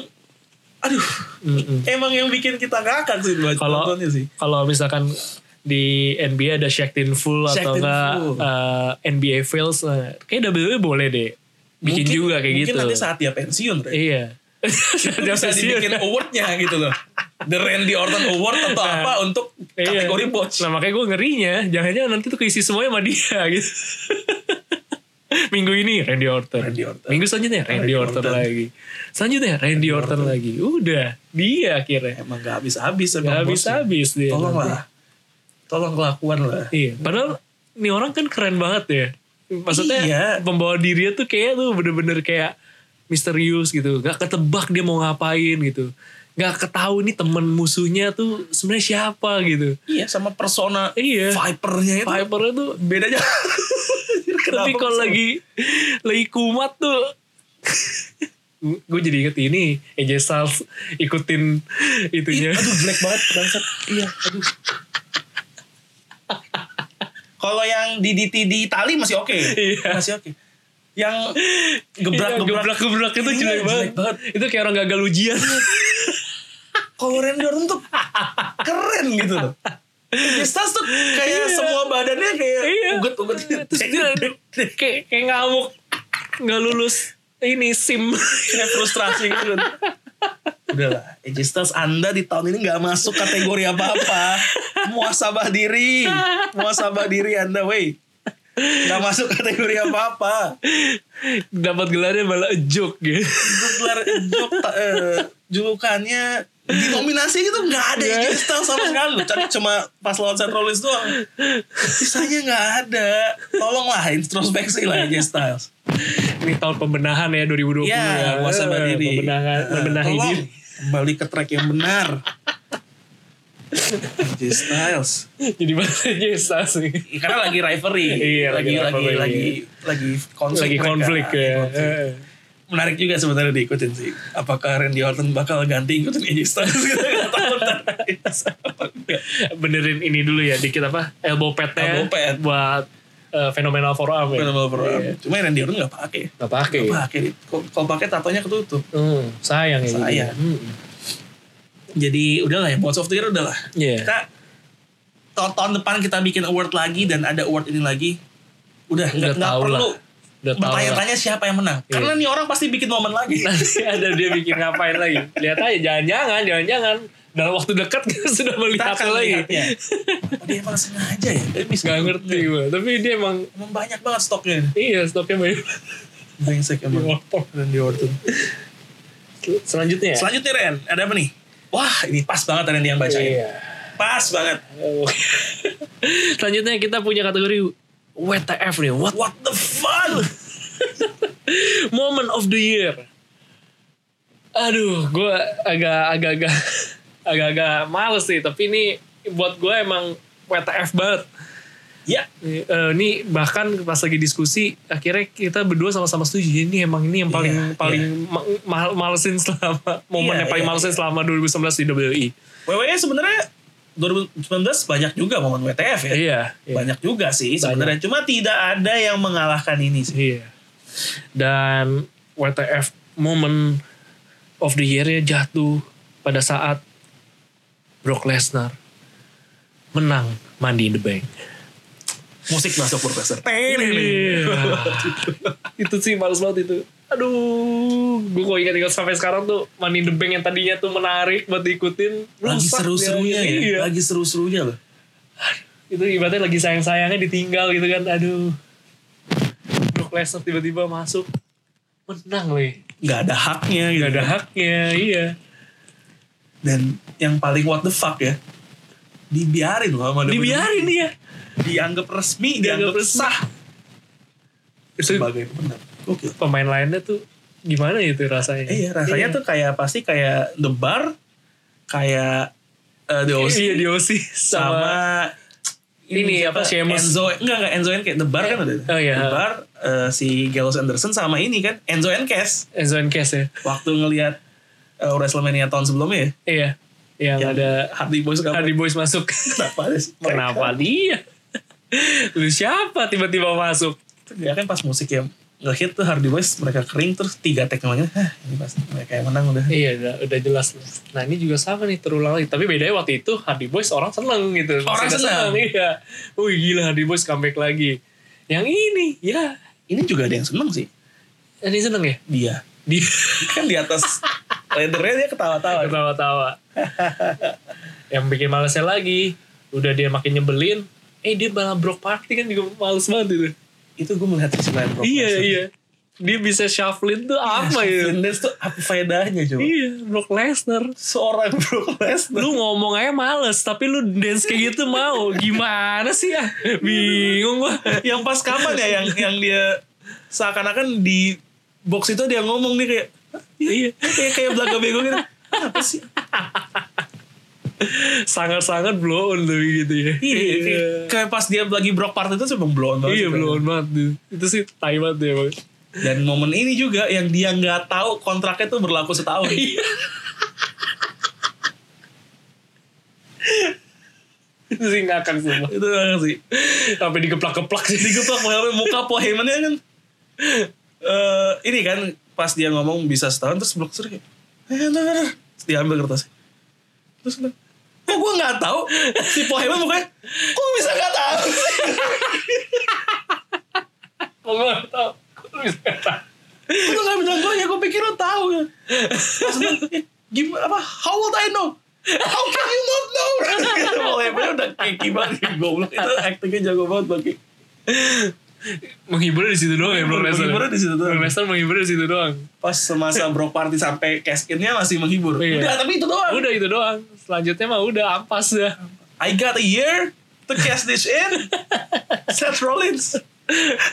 S1: aduh
S2: Mm-mm.
S1: emang yang bikin kita ngakak sih buat
S2: Kalau-
S1: nontonnya sih
S2: Kalau misalkan di NBA ada Shaqtin Full atau
S1: Shaqtin
S2: enggak
S1: Full.
S2: eh, NBA Fails. eh, Kayaknya WWE boleh deh.
S1: Mungkin-
S2: Bikin juga kayak gitu.
S1: mungkin nanti saat dia pensiun Ren.
S2: Iya.
S1: Itu bisa dibikin awardnya gitu loh The Randy Orton Award atau apa untuk
S2: Nah. Iya.
S1: kategori bots
S2: Nah makanya gue ngerinya, jangan-jangan nanti tuh keisi semuanya sama dia gitu. Minggu ini Randy Orton.
S1: Randy Orton.
S2: Minggu selanjutnya Randy,
S1: Randy
S2: Orton,
S1: Orton.
S2: lagi. Selanjutnya Randy, Orton, lagi. Udah, dia akhirnya.
S1: emang gak habis-habis
S2: Gak
S1: emang bosnya.
S2: habis-habis dia. nanti.
S1: tolonglah tolong kelakuan lah
S2: Iya. Padahal ini orang kan keren banget ya. Maksudnya
S1: Iya.
S2: pembawa dirinya tuh kayak tuh bener-bener kayak misterius gitu. Gak ketebak dia mau ngapain gitu. Gak ketahu nih temen musuhnya tuh sebenarnya siapa gitu.
S1: iya sama persona
S2: Iya.
S1: vipernya itu
S2: Vipernya tuh
S1: beda aja
S2: Tapi kalau lagi lagi kumat tuh gue jadi inget ini AJ Styles ikutin
S1: Ih,
S2: itunya
S1: aduh jelek banget bangsat. Iya, aduh. Kalau yang di DT di Itali masih oke.
S2: Iya.
S1: Masih oke. Yang
S2: Iya,
S1: gebrak-gebrak
S2: gebrak-gebrak itu
S1: Iya,
S2: jelek
S1: jelek
S2: banget.
S1: banget.
S2: Itu kayak orang gagal ujian.
S1: kalau Randy Orton tuh keren gitu loh. Gestas tuh kayak
S2: Iya.
S1: semua badannya kayak
S2: Iya.
S1: uget-uget gitu.
S2: Terus dia kayak kayak ngamuk. Nggak lulus ini SIM.
S1: kayak frustrasi gitu. Udah lah, AJ Styles Anda di tahun ini nggak masuk kategori apa-apa. Muasabah diri, muasabah diri Anda, wey. Nggak masuk kategori apa-apa.
S2: Dapat gelarnya malah a joke gitu.
S1: Itu gelar jok, ta- eh, julukannya di nominasi itu nggak ada AJ Styles sama sekali. loh. Tadi cuma pas lawan Seth Rollins doang. Sisanya nggak ada. Tolonglah introspeksi lah AJ Styles.
S2: Ini tahun pembenahan ya 2020
S1: Ya, muasabah
S2: Eh,
S1: diri.
S2: Pembenahan,
S1: Eh,
S2: membenahi
S1: tolong,
S2: diri.
S1: Kembali ke track yang benar. AJ Styles.
S2: Jadi bahasa AJ Styles nih.
S1: Ya, Karena lagi rivalry.
S2: Iya,
S1: lagi
S2: lagi
S1: lagi
S2: rivalry.
S1: lagi lagi konflik.
S2: Lagi
S1: mereka.
S2: konflik ya. Eh.
S1: Menarik juga sebenarnya diikutin sih. Apakah Randy Orton bakal ganti ikutin AJ Styles? Kita nggak tahu ntar. Apa enggak.
S2: Benerin ini dulu ya dikit apa? Elbow padnya ya,
S1: Elbow pad.
S2: buat eh, Phenomenal forearm ya.
S1: Phenomenal program. Cuma Randy Orton nggak pakai.
S2: Gak pakai.
S1: Nggak pakai. Kalau- Kalau pakai tatonya ketutup.
S2: Hmm, sayang ya.
S1: Sayang. Jadi udahlah ya. Bots of the Year udahlah.
S2: Iya.
S1: kita tahun, tahun depan kita bikin award lagi dan ada award ini lagi udah nggak nggak
S2: Udah tahu lah.
S1: perlu
S2: Udah tahu lah.
S1: bertanya-tanya siapa yang menang
S2: Iya.
S1: karena nih orang pasti bikin momen lagi
S2: nanti ada dia bikin ngapain lagi lihat aja jangan-jangan jangan-jangan dalam waktu dekat kita sudah
S1: kita
S2: melihat
S1: akan
S2: lagi
S1: lihatnya Apa dia emang sengaja ya dia bisa
S2: nggak ngerti gue tapi dia emang
S1: emang banyak banget stoknya
S2: iya stoknya banyak
S1: brengsek
S2: Iya,
S1: emang Randy Orton
S2: selanjutnya ya?
S1: selanjutnya Ren ada apa nih wah ini pas banget Ren yang bacain
S2: Iya.
S1: pas banget
S2: Oh. selanjutnya kita punya kategori WTF nih what
S1: what the fun
S2: moment of the year aduh gue agak agak agak agak agak males sih tapi ini buat gue emang WTF banget
S1: ya
S2: Eh, ini bahkan pas lagi diskusi akhirnya kita berdua sama-sama setuju Jadi ini emang ini yang paling
S1: Iya,
S2: paling ma- ma- malesin selama momen
S1: Iya,
S2: yang paling
S1: iya,
S2: malesin selama 2019 di E. WWE.
S1: WWE E sebenarnya 2019 banyak juga momen WTF ya
S2: Iya, iya.
S1: banyak juga sih sebenarnya cuma tidak ada yang mengalahkan ini sih
S2: Iya. Dan WTF moment of the year-nya jatuh pada saat Brock Lesnar menang Money in the Bank.
S1: musik masuk profesor
S2: Iya. itu sih males banget itu. Aduh, gue kok ingat-ingat sampai sekarang tuh Money in the Bank yang tadinya tuh menarik buat diikutin.
S1: lagi
S2: rusak
S1: seru-serunya
S2: dia.
S1: ya
S2: Iya.
S1: lagi seru-serunya loh
S2: Itu ibaratnya lagi sayang-sayangnya ditinggal gitu kan. Aduh. Brock Lesnar tiba-tiba masuk. Menang leh.
S1: nggak ada haknya gitu.
S2: Gak ada haknya, iya.
S1: dan yang paling what the fuck ya dibiarin loh sama WWE.
S2: Dibiarin dia.
S1: dianggap resmi dianggap,
S2: Dianggap resah.
S1: sah
S2: Itu
S1: sebagai pemenang oke
S2: pemain lainnya tuh gimana itu rasanya?
S1: iya rasanya tuh kayak pasti kayak the bar kayak eh, the OC
S2: Iya, di OC sama,
S1: sama
S2: ini
S1: siapa?
S2: apa, Sheamus.
S1: Enzo enggak enggak Enzo Enke The Bar kan ada
S2: Oh, iya.
S1: The Bar eh, si Gallows Anderson sama ini kan Enzo Enkes
S2: Enzo Encas ya.
S1: waktu ngelihat eh, WrestleMania tahun sebelumnya ya
S2: Iya. Yang
S1: Yang
S2: ada
S1: Hardy Boys kenapa
S2: Hardy Boys masuk.
S1: kenapa ada sih mereka?
S2: Kenapa dia? Lu siapa tiba-tiba masuk?
S1: ya kan pas musik yang ngehit tuh Hardy Boys mereka kering terus tiga tag namanya Hah, ini pasti mereka yang menang udah
S2: Iya, udah, udah jelas. Nah ini juga sama nih terulang lagi. Tapi bedanya waktu itu Hardy Boys orang seneng gitu. Masih
S1: Orang
S2: ada
S1: seneng.
S2: Iya. Wih gila Hardy Boys comeback lagi. Yang ini, ya.
S1: ini juga ada yang seneng sih
S2: Ini seneng ya?
S1: dia
S2: Dia
S1: kan di atas leadernya dia ketawa-tawa
S2: ketawa-tawa. Yang bikin malesnya lagi. Udah dia makin nyebelin. Eh dia malah Brock Party kan juga males banget itu.
S1: itu gue melihat sisi lain Brock
S2: Iya,
S1: Lesnar.
S2: iya. Dia bisa shuffling tuh apa ya?
S1: Shawn Mendes tuh apa faedahnya coba
S2: Iya, Brock Lesnar.
S1: seorang Brock Lesnar
S2: Lu ngomong aja males, tapi lu dance kayak gitu mau. Gimana sih ya? Bingung gua.
S1: yang pas kapan ya yang yang dia seakan-akan di box itu dia ngomong nih kayak
S2: Iya.
S1: kayak kayak belaga bego gitu apa sih
S2: Sangat-sangat blow on tapi gitu ya.
S1: Iya, kayak- kayak pas dia lagi Brock Part itu sebelum blown banget
S2: Iya,
S1: sih,
S2: blow on banget. Dude. Itu sih tai banget deh, Bang.
S1: Dan momen ini juga yang dia nggak tahu kontraknya tuh berlaku setahun.
S2: Iya. Itu sih ngakak semua.
S1: itu kan sih.
S2: Sampai digeplak-geplak sih.
S1: Digeplak Pohleman, muka Pohlemannya kan. eh ini kan pas dia ngomong bisa setahun terus blok suri. Eh, nah, nah, nah. Terus diambil kertasnya. Terus bilang, kok gue nggak tahu si Pohleman mukanya kok bisa nggak tahu sih? Oh,
S2: Kok gue nggak tahu? Kok lu bisa nggak tahu?
S1: Kok lu nggak bilang gue ya gue pikir lo tahu ya. Terus dia, "Eh, gimana apa how would I know how can you not know Pohlemannya udah keki banget goblok itu actingnya jago banget bagi
S2: Menghiburnya di situ doang ya Bro Lester.
S1: Menghiburnya di situ doang.
S2: Bro Lester menghiburnya di situ doang.
S1: pas semasa bro party sampai cash innya masih menghibur
S2: Iya.
S1: udah tapi itu doang
S2: Udah itu doang. Selanjutnya mah udah ampas ya.
S1: I got a year to cash this in. Seth Rollins,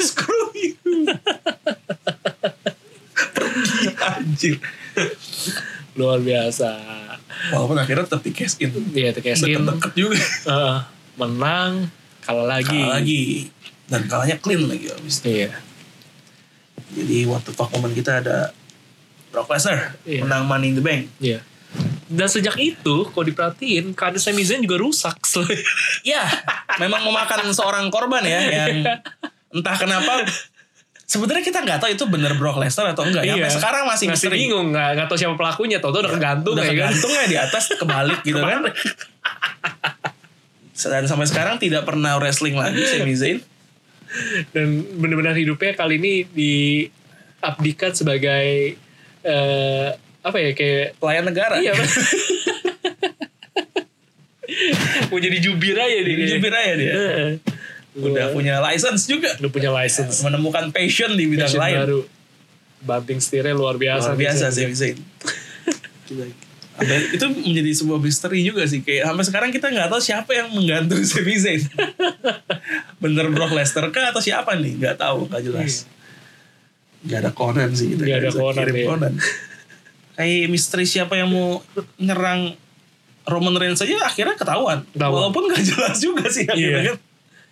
S1: screw you. Pergi anjir.
S2: Luar biasa.
S1: Walaupun akhirnya tetap di cash in.
S2: Iya tuh kayak skin.
S1: Deket-deket juga.
S2: Heeh. menang kalah lagi.
S1: Kalah lagi. Dan kalahnya clean lagi abis itu.
S2: Iya.
S1: Jadi what the fuck moment kita ada Brock Lesnar
S2: Iya.
S1: menang Money in the Bank.
S2: Iya. Dan sejak itu kalau diperhatiin karir Sami Zayn juga rusak. selain-
S1: Ya, memang memakan seorang korban ya yang entah kenapa Sebenarnya kita nggak tahu itu bener Brock Lesnar atau enggak. Ya,
S2: Iya.
S1: sampai sekarang masih,
S2: masih
S1: misteri.
S2: bingung nggak nggak tahu siapa pelakunya tau tau udah kegantung
S1: udah
S2: ya kan
S1: kegantung ya di atas kebalik gitu kan dan sampai sekarang tidak pernah wrestling lagi Sami Zayn
S2: dan benar-benar hidupnya kali ini diabdikan sebagai eh apa ya kayak
S1: pelayan negara
S2: iya mau jadi jubir aja dia
S1: Jadi jubir aja dia
S2: Heeh.
S1: udah
S2: Gua-
S1: punya license juga
S2: udah punya license
S1: menemukan passion di bidang
S2: Passion
S1: lain
S2: baru banting setirnya luar biasa gitu.
S1: luar biasa
S2: Zayn.
S1: Sami Zayn Sampai- itu menjadi sebuah misteri juga sih kayak sampai sekarang kita nggak tahu siapa yang menggantung Sami Zayn bener Brock Lesnar kah atau siapa nih nggak tahu nggak jelas Iya. nggak ada Conan sih kita
S2: Nggak ada
S1: bisa
S2: Conan,
S1: kirim
S2: iya.
S1: Conan. kayak misteri siapa yang mau nyerang Roman Reigns aja akhirnya ketahuan
S2: Ketahuan.
S1: walaupun nggak jelas juga sih akhirnya kan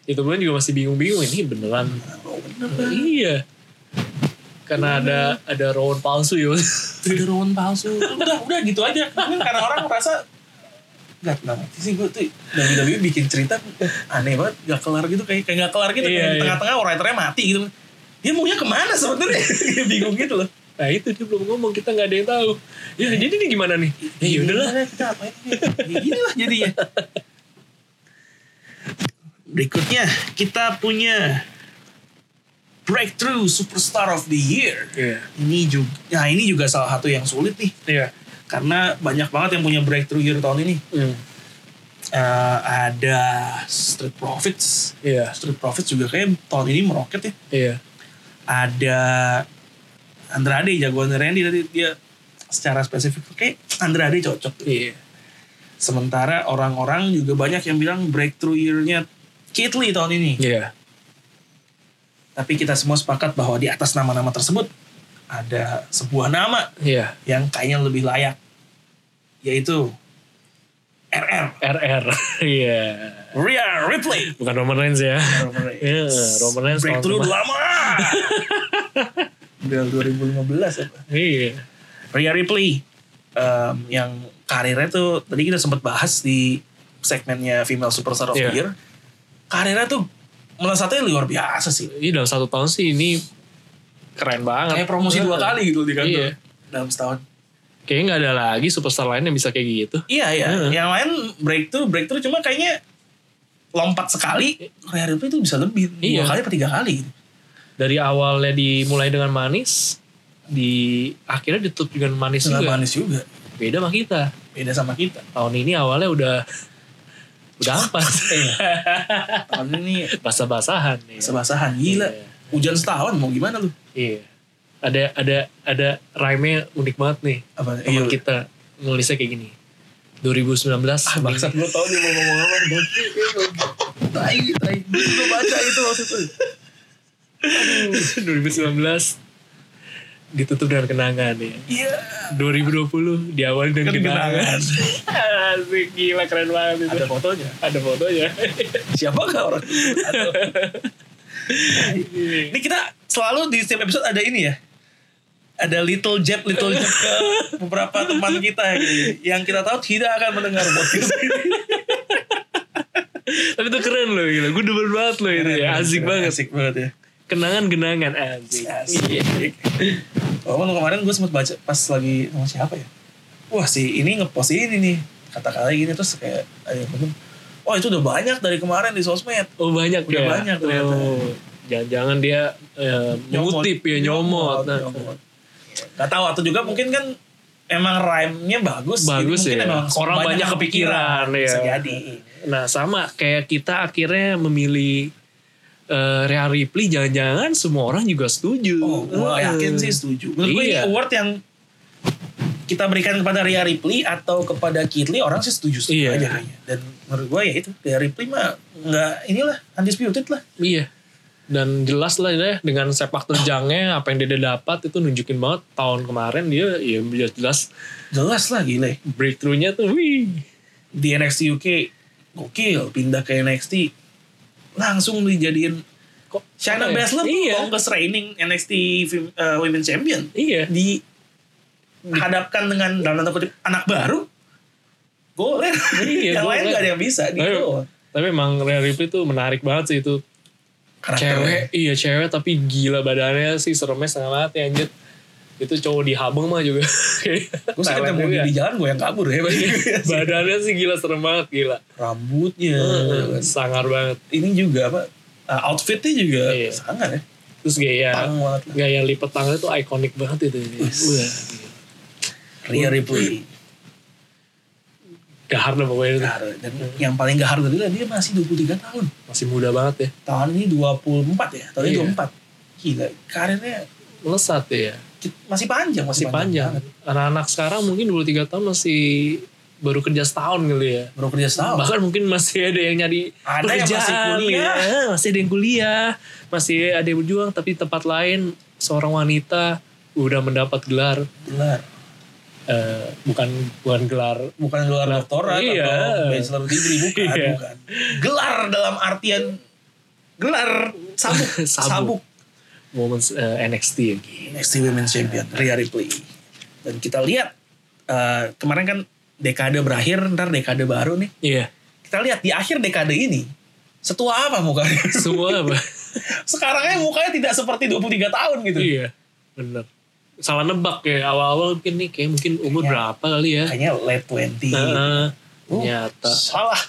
S2: itu pun juga masih bingung-bingung ini beneran
S1: Oh, bener.
S2: iya karena ada ada rowan palsu ya
S1: ada Roman palsu Iya. udah udah gitu aja Mungkin karena orang merasa Gak kenapa sih gue tuh WWE bikin cerita aneh banget gak kelar gitu kayak kayak gak kelar gitu
S2: Iya,
S1: kayak di
S2: iya.
S1: tengah-tengah writernya mati gitu dia maunya kemana sebenarnya Dia bingung gitu loh
S2: Nah itu dia belum ngomong kita nggak ada yang tahu. Ya jadi ini gimana nih? Ya yaudahlah.
S1: Gimana kita apain ini? Ya, gini lah jadinya berikutnya kita punya breakthrough superstar of the year
S2: Iya.
S1: ini juga nah ini juga salah satu yang sulit nih
S2: Iya.
S1: karena banyak banget yang punya breakthrough year tahun ini
S2: Hmm.
S1: Eh, ada Street Profits.
S2: Iya.
S1: Street Profits juga kayak tahun ini meroket ya.
S2: Iya.
S1: Ada Andrade jagoan Randy tadi dia secara spesifik kayak Andrade cocok. tuh.
S2: Iya.
S1: Sementara orang-orang juga banyak yang bilang breakthrough year-nya Keith Lee tahun ini.
S2: Iya.
S1: Tapi kita semua sepakat bahwa di atas nama-nama tersebut ada sebuah nama
S2: Iya.
S1: yang kayaknya lebih layak yaitu RR
S2: RR. Iya.
S1: Rhea Ripley.
S2: Bukan Roman Reigns ya.
S1: Roman Reigns.
S2: Iya. Roman Reigns tahun
S1: Breakthrough
S2: kemarin.
S1: lama. Dari 2015 apa?
S2: Iya.
S1: Rhea Ripley em, yang karirnya tuh tadi kita sempat bahas di segmennya Female Superstar of the
S2: Iya.
S1: Year. Karirnya tuh melesatnya luar biasa sih.
S2: Ini dalam satu tahun sih ini keren banget.
S1: Kayak promosi dua kali gitu di kantor.
S2: Iya.
S1: Dalam setahun.
S2: Kayaknya nggak ada lagi superstar lain yang bisa kayak gitu.
S1: Iya, iya.
S2: Heeh.
S1: Yang lain breakthrough, breakthrough cuma kayaknya lompat sekali Rhea Ripley tuh bisa lebih
S2: Iya.
S1: dua kali atau tiga kali gitu.
S2: Dari awalnya dimulai dengan manis, di akhirnya ditutup dengan manis
S1: Sangat
S2: juga.
S1: manis juga.
S2: Beda sama kita.
S1: Beda sama kita.
S2: Tahun ini awalnya udah udah ampas.
S1: Iya. Tahun ini
S2: basah-basahan nih.
S1: Sebasahan gila.
S2: Iya.
S1: Hujan setahun mau gimana lu?
S2: Iya. Ada ada ada rhyme unik banget nih.
S1: Apa? Iya.
S2: Teman kita nulisnya kayak gini. 2019.
S1: Ah, bangsat gue tau dia mau ngomong apa. Bangke, Tai, tai. Gue baca itu maksudnya.
S2: 2019 ditutup dengan kenangan ya.
S1: Iya.
S2: 2020 diawali dengan
S1: Kan
S2: kenangan.
S1: kenangan.
S2: Asik gila keren banget itu.
S1: Ada fotonya.
S2: Ada fotonya.
S1: Siapa gak orang? Atau- Ini kita selalu di setiap episode ada ini ya. Ada little jab, little jab ke beberapa teman kita ya, gitu. yang kita tahu tidak akan mendengar podcast ini.
S2: Tapi itu keren loh gila. Gue demen banget loh itu ya. Asik banget.
S1: Asik banget ya.
S2: Kenangan-kenangan asik.
S1: Asik.
S2: Iya.
S1: Walaupun kemarin gue sempat baca pas lagi sama siapa ya. Wah si ini ngepost ini nih. Kata-kata gini terus kayak ada yang komen, Oh itu udah banyak dari kemarin di sosmed.
S2: Oh banyak
S1: Udah
S2: ya.
S1: banyak ternyata.
S2: Oh, Jangan-jangan dia eh, mengutip ya nyomot. Nah,
S1: Gak tahu atau juga mungkin kan emang rhyme-nya bagus. jadi
S2: Bagus
S1: mungkin
S2: ya.
S1: emang
S2: Orang banyak kepikiran,
S1: Bisa
S2: ya.
S1: jadi.
S2: Nah sama kayak kita akhirnya memilih eh Rhea Ripley jangan-jangan semua orang juga setuju.
S1: Oh, gue
S2: Eh.
S1: yakin sih setuju. Menurut gue ini
S2: Iya.
S1: award yang kita berikan kepada Ria Ripley atau kepada Kitli orang sih setuju setuju
S2: Iya.
S1: aja kayaknya. Dan menurut gue ya itu Ria Ripley mah nggak inilah undisputed lah.
S2: Iya. Dan jelas lah ya dengan sepak terjangnya apa yang dia dapat itu nunjukin banget tahun kemarin dia ya jelas
S1: Jelas lah gile.
S2: breakthrough-nya tuh wih.
S1: Di NXT UK gokil pindah ke NXT langsung dijadiin
S2: Kok
S1: Shayna
S2: apa ya?
S1: Baszler
S2: Iya.
S1: tuh longest reigning NXT fem- uh, Women Champion
S2: Iya.
S1: dihadapkan dengan dalam tanda kutip anak baru boleh
S2: Iya,
S1: yang lain
S2: goler.
S1: gak ada yang bisa gitu
S2: Ayo. Tapi emang Rhea Ripley tuh menarik banget sih itu cewek
S1: Karakternya.
S2: iya cewek tapi gila badannya sih seremnya setengah mati anjir itu cowok di Habeng mah juga
S1: gue sih ketemu dia di jalan gue yang kabur ya
S2: badannya sih gila serem banget gila
S1: rambutnya Hmm.
S2: sangar banget
S1: ini juga apa uh, outfitnya juga
S2: Iya.
S1: sangat ya
S2: terus gaya
S1: pang banget lah.
S2: gaya lipat tangannya tuh ikonik banget itu ini
S1: Wis.
S2: Wah,
S1: Rhea Ripley
S2: gahar dah pokoknya itu.
S1: Gahar. dan yang paling gahar dari dia dia masih 23 tahun
S2: masih muda banget ya
S1: tahun ini 24 ya tahun ini
S2: Iya.
S1: 24 gila karirnya
S2: melesat ya
S1: ki- masih panjang
S2: masih panjang
S1: banget.
S2: anak-anak sekarang mungkin 23 tahun masih baru kerja setahun kali ya
S1: baru kerja setahun
S2: bahkan mungkin masih ada yang nyari
S1: Ada yang masih kuliah.
S2: ya. masih ada yang kuliah masih ada yang berjuang tapi di tempat lain seorang wanita udah mendapat gelar
S1: gelar
S2: eh, bukan bukan gelar
S1: bukan gelar doktorat
S2: Iya.
S1: atau bachelor degree bukan,
S2: Iya.
S1: bukan. Gelar dalam artian gelar sabuk,
S2: Sabuk.
S1: sabuk.
S2: moments eh, NXT ya Gi.
S1: NXT Women's Champion Rhea Ripley. Dan kita lihat eh, kemarin kan dekade berakhir, ntar dekade baru nih.
S2: iya
S1: Kita lihat di akhir dekade ini setua apa mukanya?
S2: semua apa
S1: Sekarangnya mukanya tidak seperti 23 tahun gitu.
S2: iya bener salah nebak ya awal-awal mungkin nih kayak mungkin umur
S1: Iya.
S2: berapa kali ya
S1: Kayaknya late 20.
S2: Heeh.
S1: Oh,
S2: ternyata
S1: Salah.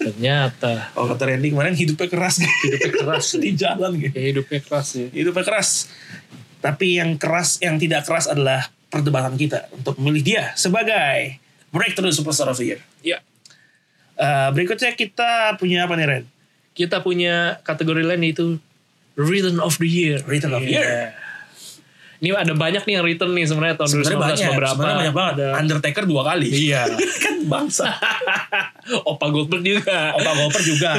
S2: ternyata
S1: Oh kata Randy kemarin hidupnya keras gitu.
S2: hidupnya keras sih.
S1: di jalan gitu.
S2: kayak hidupnya keras ya
S1: hidupnya keras. Tapi yang keras, yang tidak keras adalah perdebatan kita untuk memilih dia sebagai Breakthrough Superstar of the Year.
S2: ya
S1: Eh, berikutnya kita punya apa nih Ren?
S2: kita punya kategori lain yaitu Return of the Year. Iya.
S1: Return of the Year.
S2: Ini ada banyak nih yang return nih sebenarnya tahun
S1: Sebenarnya
S2: 2019
S1: banyak,
S2: beberapa.
S1: sebenarnya banyak banget.
S2: Ada-
S1: Undertaker dua kali.
S2: Iya.
S1: kan bangsa.
S2: Opa Goldberg juga.
S1: Opa Goper juga.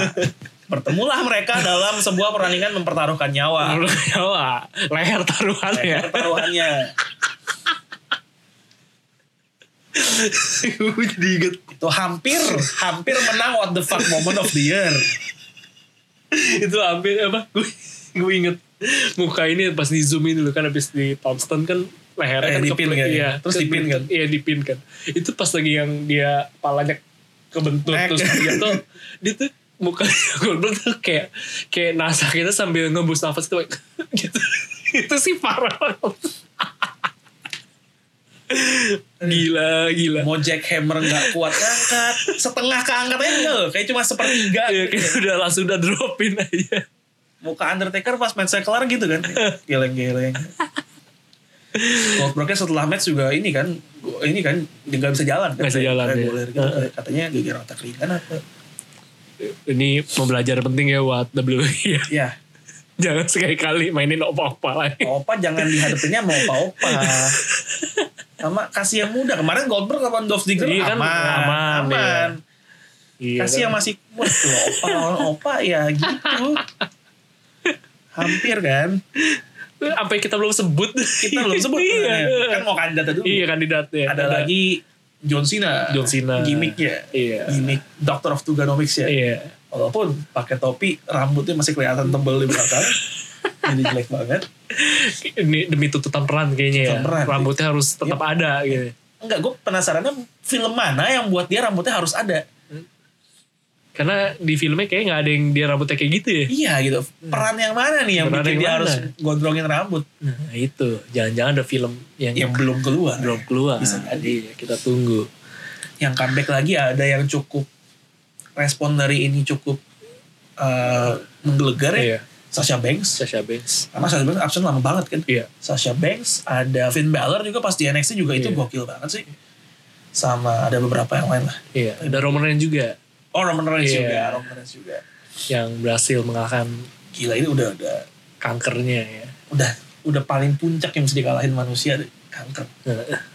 S1: Bertemulah mereka dalam sebuah pertandingan mempertaruhkan nyawa.
S2: Menurut Jawa, leher taruhannya.
S1: Iya. Pertaruhannya.
S2: Gue jadi inget.
S1: Itu hampir, hampir menang what the fuck moment of the year.
S2: Itu hampir apa? Gue gue inget muka ini pas di zoom ini dulu kan habis di Thompson kan lehernya
S1: Eh,
S2: kan
S1: dipin kan ya?
S2: iya,
S1: Terus dipin kan?
S2: Iya dipin kan. Itu pas lagi yang dia palanya kebentur
S1: Nek.
S2: terus dia tuh dia tuh mukanya Goldberg tuh kayak kayak nasa kita sambil ngembus nafas gitu, kayak gitu. itu sih parah banget. gila gila
S1: Mau jackhammer nggak kuat angkat. Setengah keangkat aja enggak loh. Kayak cuma sepertiga. gitu.
S2: ya kayak udah langsung udah dropin aja
S1: muka Undertaker pas match kelar gitu kan geleng-geleng Goldbergnya setelah match juga ini kan go- ini kan dia nggak bisa jalan kan
S2: Nggak bisa jalan,
S1: Kayak
S2: iya.
S1: goler gitu. katanya geger otak ringan apa
S2: ini pembelajaran penting ya buat WWE ya.
S1: ya
S2: jangan sekali-kali mainin opa-opa lagi
S1: opa jangan dihadapinnya mau opa opa sama kasih yang muda kemarin Goldberg lawan Dolph Ziggler
S2: Iya kan,
S1: aman
S2: aman,
S1: aman,
S2: iya,
S1: kasih yang
S2: kan?
S1: masih kuat loh opa lawan opa ya gitu hampir kan
S2: apa yang kita belum sebut
S1: kita belum sebut
S2: iya
S1: kan mau kandidat dulu
S2: iya kandidatnya
S1: ada lagi John Cena.
S2: John Cena.
S1: Gimmicknya.
S2: Iya.
S1: Gimmick Doctor of Tuganomics ya.
S2: iya
S1: Walaupun pakai topi, rambutnya masih kelihatan tebel di belakang. Jadi jelek banget.
S2: Ini demi tuntutan peran kayaknya ya.
S1: Tuntutan peran. Iya.
S2: Rambutnya harus tetap ada gitu.
S1: Enggak, gue penasarannya film mana yang buat dia rambutnya harus ada.
S2: Karena di filmnya kayaknya nggak ada yang dia rambutnya kayak gitu ya.
S1: Iya gitu. Peran yang mana nih yang
S2: Peran
S1: bikin
S2: yang
S1: dia
S2: mana?
S1: harus gondrongin rambut
S2: Nah itu, jangan-jangan ada film yang
S1: yang belum keluar.
S2: belum
S1: Iya.
S2: keluar.
S1: Bisa jadi.
S2: Iya, kita tunggu.
S1: Yang comeback lagi ada yang cukup respon dari ini cukup eh, menggelegar ya.
S2: Iya,
S1: Sasha Banks.
S2: Sasha Banks.
S1: Karena Sasha Banks absen lama banget kan.
S2: Iya.
S1: Sasha Banks, ada Finn Balor juga pas di NXT juga itu
S2: Iya.
S1: gokil banget sih. Sama ada beberapa yang lain lah.
S2: Iya, ada Roman Reigns juga
S1: Oh Roman Reigns
S2: Iya.
S1: juga, Roman Reigns juga.
S2: yang berhasil mengalahkan
S1: Gila ini udah udah
S2: kankernya ya.
S1: udah udah paling puncak yang bisa dikalahin manusia deh. kanker.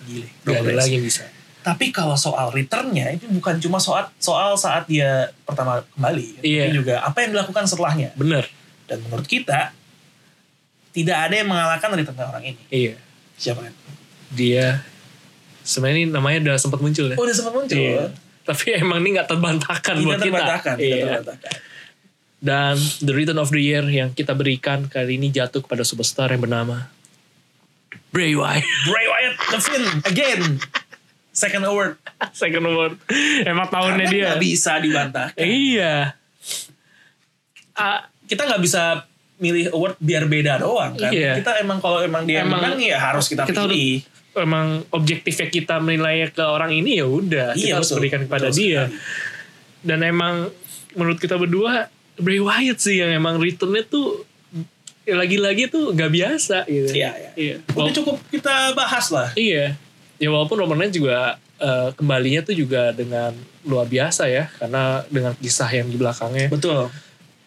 S1: Gile.
S2: Gak ada
S1: Roman Reigns.
S2: lagi yang bisa.
S1: Tapi kalau soal returnnya itu bukan cuma soal soal saat dia pertama kembali,
S2: Iya.
S1: tapi juga apa yang dilakukan setelahnya.
S2: Bener.
S1: Dan menurut kita tidak ada yang mengalahkan return orang ini.
S2: Iya.
S1: Siapa kan?
S2: Dia sebenarnya ini namanya udah sempat muncul ya.
S1: Oh, udah sempat muncul.
S2: Iya. Tapi emang ini nggak terbantahkan
S1: Tidak
S2: buat kita.
S1: terbantahkan, tidak
S2: Iya.
S1: terbantahkan.
S2: Dan The Return of the Year yang kita berikan kali ini jatuh kepada superstar yang bernama Bray Wyatt.
S1: Bray Wyatt The Finn again. Second award.
S2: Second award. Emang tahunnya
S1: Karena
S2: Oh, dia.
S1: nggak bisa dibantah.
S2: Iya. Ah,
S1: Kita nggak bisa milih award biar beda doang kan.
S2: Iya.
S1: Kita emang kalau emang dia
S2: Emang-
S1: menang ya harus kita,
S2: kita
S1: pilih.
S2: emang objektifnya kita menilai ke orang ini ya udah kita
S1: Iya,
S2: harus
S1: betul.
S2: berikan kepada
S1: Betul
S2: dia.
S1: sekali.
S2: Dan emang menurut kita berdua Bray Wyatt sih yang emang returnnya tuh ya lagi-lagi tuh gak biasa gitu.
S1: Iya, iya.
S2: Iya.
S1: Udah cukup kita bahas lah.
S2: Iya. Ya walaupun Roman Reigns juga eh, kembalinya tuh juga dengan luar biasa ya karena dengan kisah yang di belakangnya.
S1: Betul.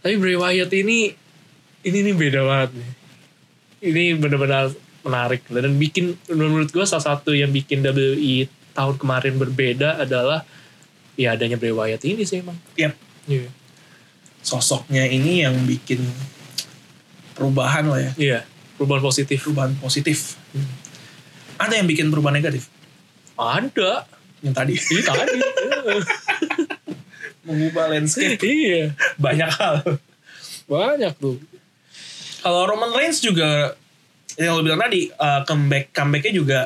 S2: Tapi Bray Wyatt ini ini nih beda banget nih. Ini benar-benar menarik dan bikin menurut gue salah satu yang bikin WWE tahun kemarin berbeda adalah ya adanya Bray Wyatt ini sih emang.
S1: Yap.
S2: Iya.
S1: Sosoknya ini yang bikin perubahan lah ya.
S2: Iya. Perubahan positif. Hmm.
S1: Perubahan positif. Ada yang bikin perubahan negatif.
S2: Ada.
S1: Yang tadi.
S2: Ini tadi.
S1: Mengubah landscape.
S2: iya.
S1: Banyak hal.
S2: Banyak tuh.
S1: kalau Roman Reigns juga yang lo bilang tadi eh, comeback comebacknya juga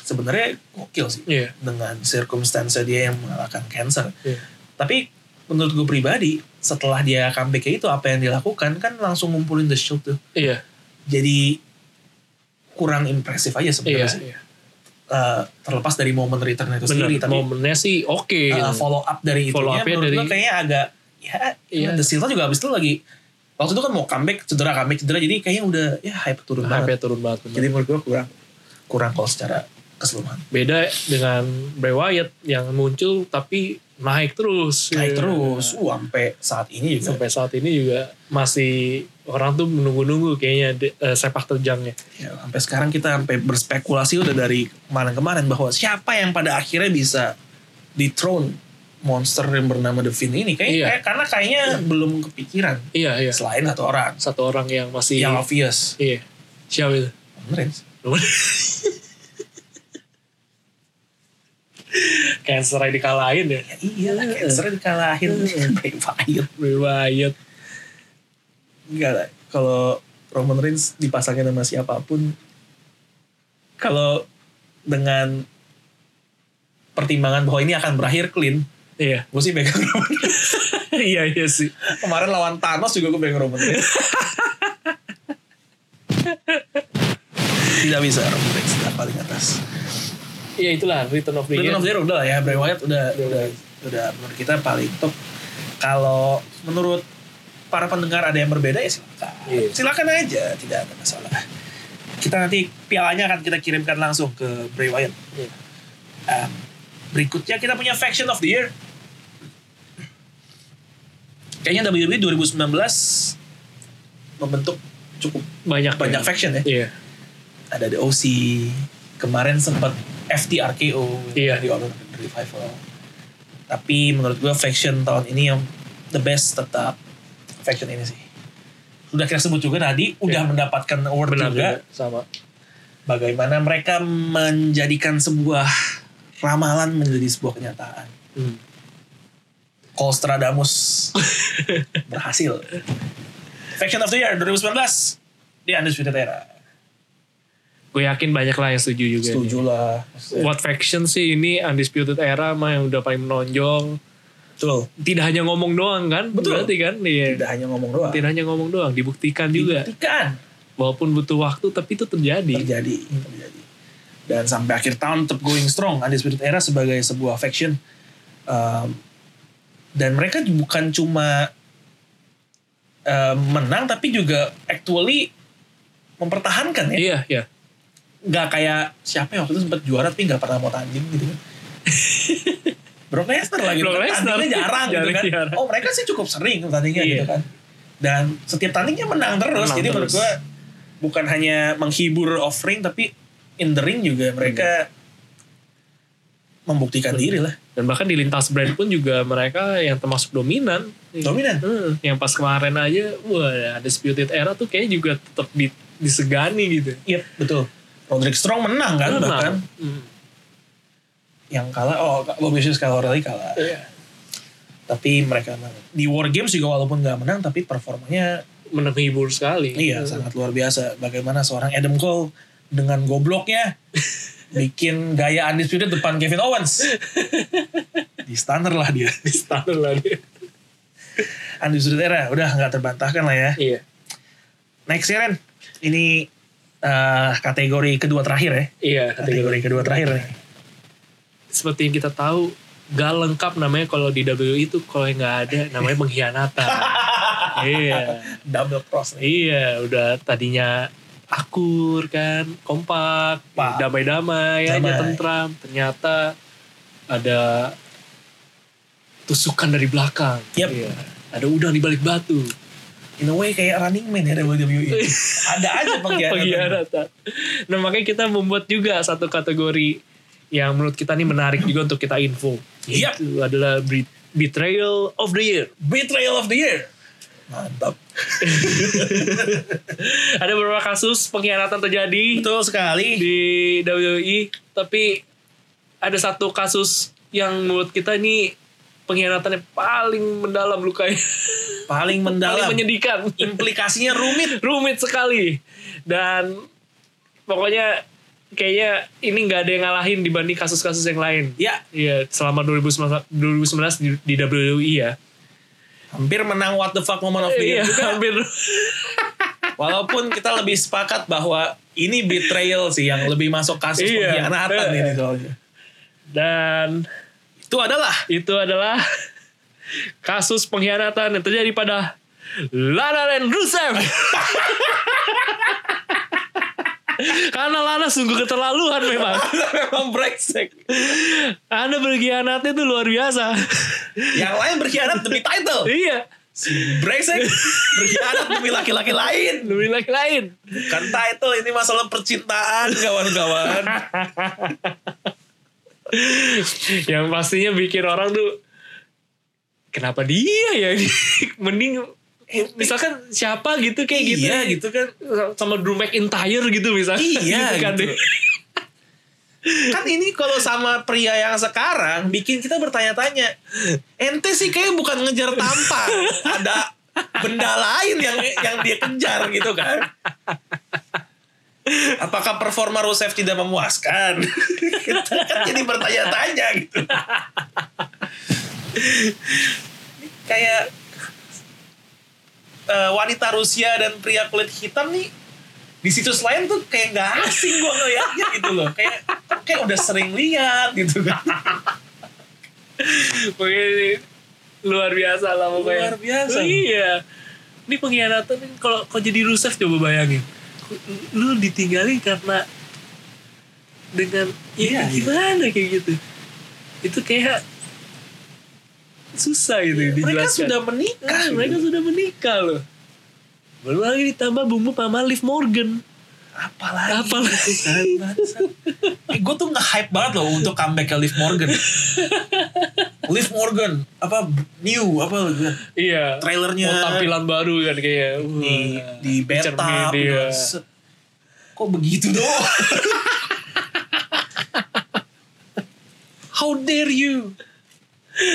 S1: sebenarnya gokil sih
S2: Iya.
S1: dengan circumstance dia yang mengalahkan cancer
S2: Iya.
S1: tapi menurut gue pribadi setelah dia comebacknya itu apa yang dilakukan kan langsung ngumpulin the shield tuh
S2: Iya.
S1: jadi kurang impresif aja
S2: Iya.
S1: sebenarnya sih.
S2: iya.
S1: Eh, terlepas dari momen return itu
S2: Bener,
S1: sendiri tapi
S2: momennya sih oke.
S1: eh,
S2: gitu.
S1: follow up dari
S2: Follow
S1: itunya
S2: up-nya
S1: menurut gue
S2: dari-
S1: kayaknya agak ya
S2: Iya.
S1: the shield juga abis itu lagi waktu itu kan mau comeback cedera comeback cedera jadi kayaknya udah ya hype turun banget
S2: HP turun banget. bener.
S1: Jadi menurut gue kurang kurang kalau secara keseluruhan.
S2: Beda dengan Bray Wyatt yang muncul tapi naik terus.
S1: Naik
S2: Iya.
S1: terus, uh, sampai saat ini juga.
S2: Sampai saat ini juga masih orang tuh menunggu-nunggu kayaknya de- eh, sepak terjangnya.
S1: Ya, sampai sekarang kita sampai berspekulasi udah dari kemarin-kemarin bahwa siapa yang pada akhirnya bisa dethrone monster yang bernama The Fiend ini kayak,
S2: Iya.
S1: kayak- karena kayaknya belum kepikiran
S2: Iya, iya.
S1: selain satu orang
S2: Satu orang yang masih
S1: yang obvious. ya
S2: Iya. Siapa itu?
S1: Roman Reigns.
S2: Cancer yang dikalahin ya.
S1: Ya iyalah cancer dikalahin Bray Wyatt.
S2: Bray Wyatt.
S1: Enggak lah. Kalau Roman Reigns dipasangin sama siapapun, kalau dengan pertimbangan bahwa ini akan berakhir clean,
S2: Iya.
S1: gue sih pegang Roman Reigns.
S2: iya, iya sih.
S1: Kemarin lawan Thanos juga gue pegang Roman Reigns. Tidak bisa Roman Reigns tidak paling atas.
S2: Iya itulah Return of the
S1: Bray
S2: Year.
S1: Wyatt udah lah ya, Bray Wyatt udah, udah, udah menurut kita paling top. Kalau menurut para pendengar ada yang berbeda ya silakan.
S2: Iya.
S1: silakan aja tidak ada masalah kita nanti pialanya akan kita kirimkan langsung ke Bray Wyatt
S2: Iya.
S1: Um, berikutnya kita punya faction of the year kayaknya E WWE 2019 membentuk cukup
S2: Banyak.
S1: banyak
S2: ya.
S1: faction ya
S2: Iya.
S1: ada The OC kemarin sempat FTRKO
S2: Iya.
S1: di All Elite Revival tapi menurut gue faction tahun ini yang the best tetap faction ini sih udah kita sebut juga tadi udah
S2: Iya.
S1: mendapatkan award
S2: Benar
S1: juga
S2: juga. Sama.
S1: bagaimana mereka menjadikan sebuah ramalan menjadi sebuah kenyataan
S2: Hmm.
S1: Kostradamus berhasil Faction of the Year 2019 di Undisputed Era.
S2: Gue yakin banyak lah yang setuju juga. nih.
S1: Setuju lah. Maksudnya,
S2: What Faction sih ini Undisputed Era mah yang udah paling menonjol.
S1: Betul.
S2: Tidak hanya ngomong doang kan?
S1: Betul.
S2: Berarti kan? Iya.
S1: Tidak hanya ngomong doang.
S2: Tidak hanya ngomong doang, dibuktikan juga.
S1: Dibuktikan.
S2: Walaupun butuh waktu tapi itu terjadi.
S1: terjadi terjadi dan sampai akhir tahun tetap going strong Undisputed Era sebagai sebuah faction Um, dan mereka bukan cuma um, menang tapi juga actually mempertahankan ya
S2: Iya, iya.
S1: nggak kayak siapa yang waktu itu sempat juara tapi nggak pernah mau tanding gitu kan Brock Lesnar lagi
S2: Brock
S1: kan,
S2: Lesnar.
S1: tandingnya jarang gitu
S2: Jarang,
S1: kan
S2: jarang.
S1: oh mereka sih cukup sering tandingnya
S2: Iya.
S1: gitu kan dan setiap tandingnya menang terus
S2: Menang
S1: jadi menurut
S2: terus.
S1: gue bukan hanya menghibur offering tapi in the ring juga mereka
S2: Iya.
S1: membuktikan diri lah
S2: Dan bahkan di lintas brand pun juga mereka yang termasuk dominan. Iya.
S1: dominan
S2: Hmm, yang pas kemarin aja, wah Undisputed Era tuh kayaknya juga tetap di- disegani gitu.
S1: iya betul Roderick Strong menang kan
S2: Menang.
S1: bahkan
S2: Hmm.
S1: yang kalah oh Bobby Fish kalah O'Reilly kalah
S2: Iya.
S1: tapi mereka menang. di War Games juga walaupun nggak menang tapi performanya
S2: menghibur sekali.
S1: Iya,
S2: Hmm.
S1: sangat luar biasa. Bagaimana seorang Adam Cole dengan gobloknya bikin gaya undisputed depan Kevin Owens. Di stunner lah dia.
S2: Di standar lah dia.
S1: Undisputed era, udah nggak terbantahkan lah ya.
S2: Iya.
S1: Next ya Ren, ini eh, kategori kedua terakhir ya.
S2: Iya, kategori.
S1: Kategori kedua terakhir nih.
S2: Seperti yang kita tahu, gak lengkap namanya kalau di WWE itu kalau yang nggak ada namanya pengkhianatan. iya.
S1: Double cross nih.
S2: Iya, udah tadinya akur kan, kompak,
S1: Pak.
S2: damai-damai, aja
S1: Damai.
S2: tentram. Ternyata ada tusukan dari belakang.
S1: Yap.
S2: Iya. Ada udang di balik batu.
S1: In a way kayak running man ya WWE. Ada aja pengkhianatan.
S2: pengkhianatan. Nah makanya kita membuat juga satu kategori yang menurut kita ini menarik juga untuk kita info.
S1: Yap.
S2: Itu adalah bre- betrayal of the year.
S1: Betrayal of the year. Mantap.
S2: Ada beberapa kasus pengkhianatan terjadi
S1: Betul sekali.
S2: di WWE, tapi ada satu kasus yang menurut kita ini pengkhianatannya paling mendalam lukanya,
S1: Paling
S2: paling
S1: mendalam.
S2: menyedihkan,
S1: Implikasinya rumit.
S2: rumit sekali dan pokoknya kayaknya ini nggak ada yang ngalahin dibanding kasus-kasus yang lain.
S1: Ya,
S2: Iya, selama 2019, 2019 di, di WWE ya.
S1: hampir menang what the fuck moment of the
S2: Iya,
S1: year.
S2: hampir.
S1: Walaupun kita lebih sepakat bahwa ini betrayal sih yang lebih masuk kasus
S2: Iya.
S1: pengkhianatan
S2: Eh.
S1: ini soalnya.
S2: Dan
S1: Itu adalah
S2: itu adalah kasus pengkhianatan yang terjadi pada Lana dan Rusev. Karena Lana sungguh keterlaluan memang.
S1: memang brengsek.
S2: Anda berkhianatnya itu luar biasa.
S1: Yang lain berkhianat demi title.
S2: iya,
S1: Si brengsek berkhianat demi laki-laki lain.
S2: lebih lain.
S1: Bukan title, ini masalah percintaan kawan-kawan.
S2: yang pastinya bikin orang tuh kenapa dia ya mending misalkan siapa gitu kayak gitu
S1: Iya, gitu
S2: kan sama Drew McIntyre gitu misalnya
S1: Iya,
S2: gitu kan
S1: gitu. kan ini kalau sama pria yang sekarang bikin kita bertanya-tanya ente sih kayak bukan ngejar tampang ada benda lain yang yang dia kejar gitu kan apakah performa Rusev tidak memuaskan kita kan jadi bertanya-tanya gitu kayak eh, wanita Rusia dan pria kulit hitam nih di situs lain tuh kayak nggak asing gue ngeliatnya gitu loh kayak kayak udah sering lihat gitu kan
S2: Pokoknya ini luar biasa lah pokoknya
S1: Luar biasa.
S2: iya ini pengkhianatan ini kalau kalau jadi Rusev coba bayangin lu ditinggalin karena dengan
S1: Iya,
S2: ya
S1: iya.
S2: gimana kayak gitu itu kayak susah gitu
S1: Iya, mereka
S2: dijelaskan.
S1: sudah menikah
S2: Ah, mereka sudah menikah loh. Baru lagi ditambah bumbu sama Liv Morgan.
S1: apalagi
S2: Apalagi.
S1: gitu kan, bangsat. eh, gue tuh nggak hype banget loh untuk comeback ke Liv Morgan Liv Morgan apa new apa
S2: Iya.
S1: trailernya
S2: Mau tampilan baru kan kayak. Wah,
S1: di di beta
S2: cermin dia.
S1: kok begitu doang how dare you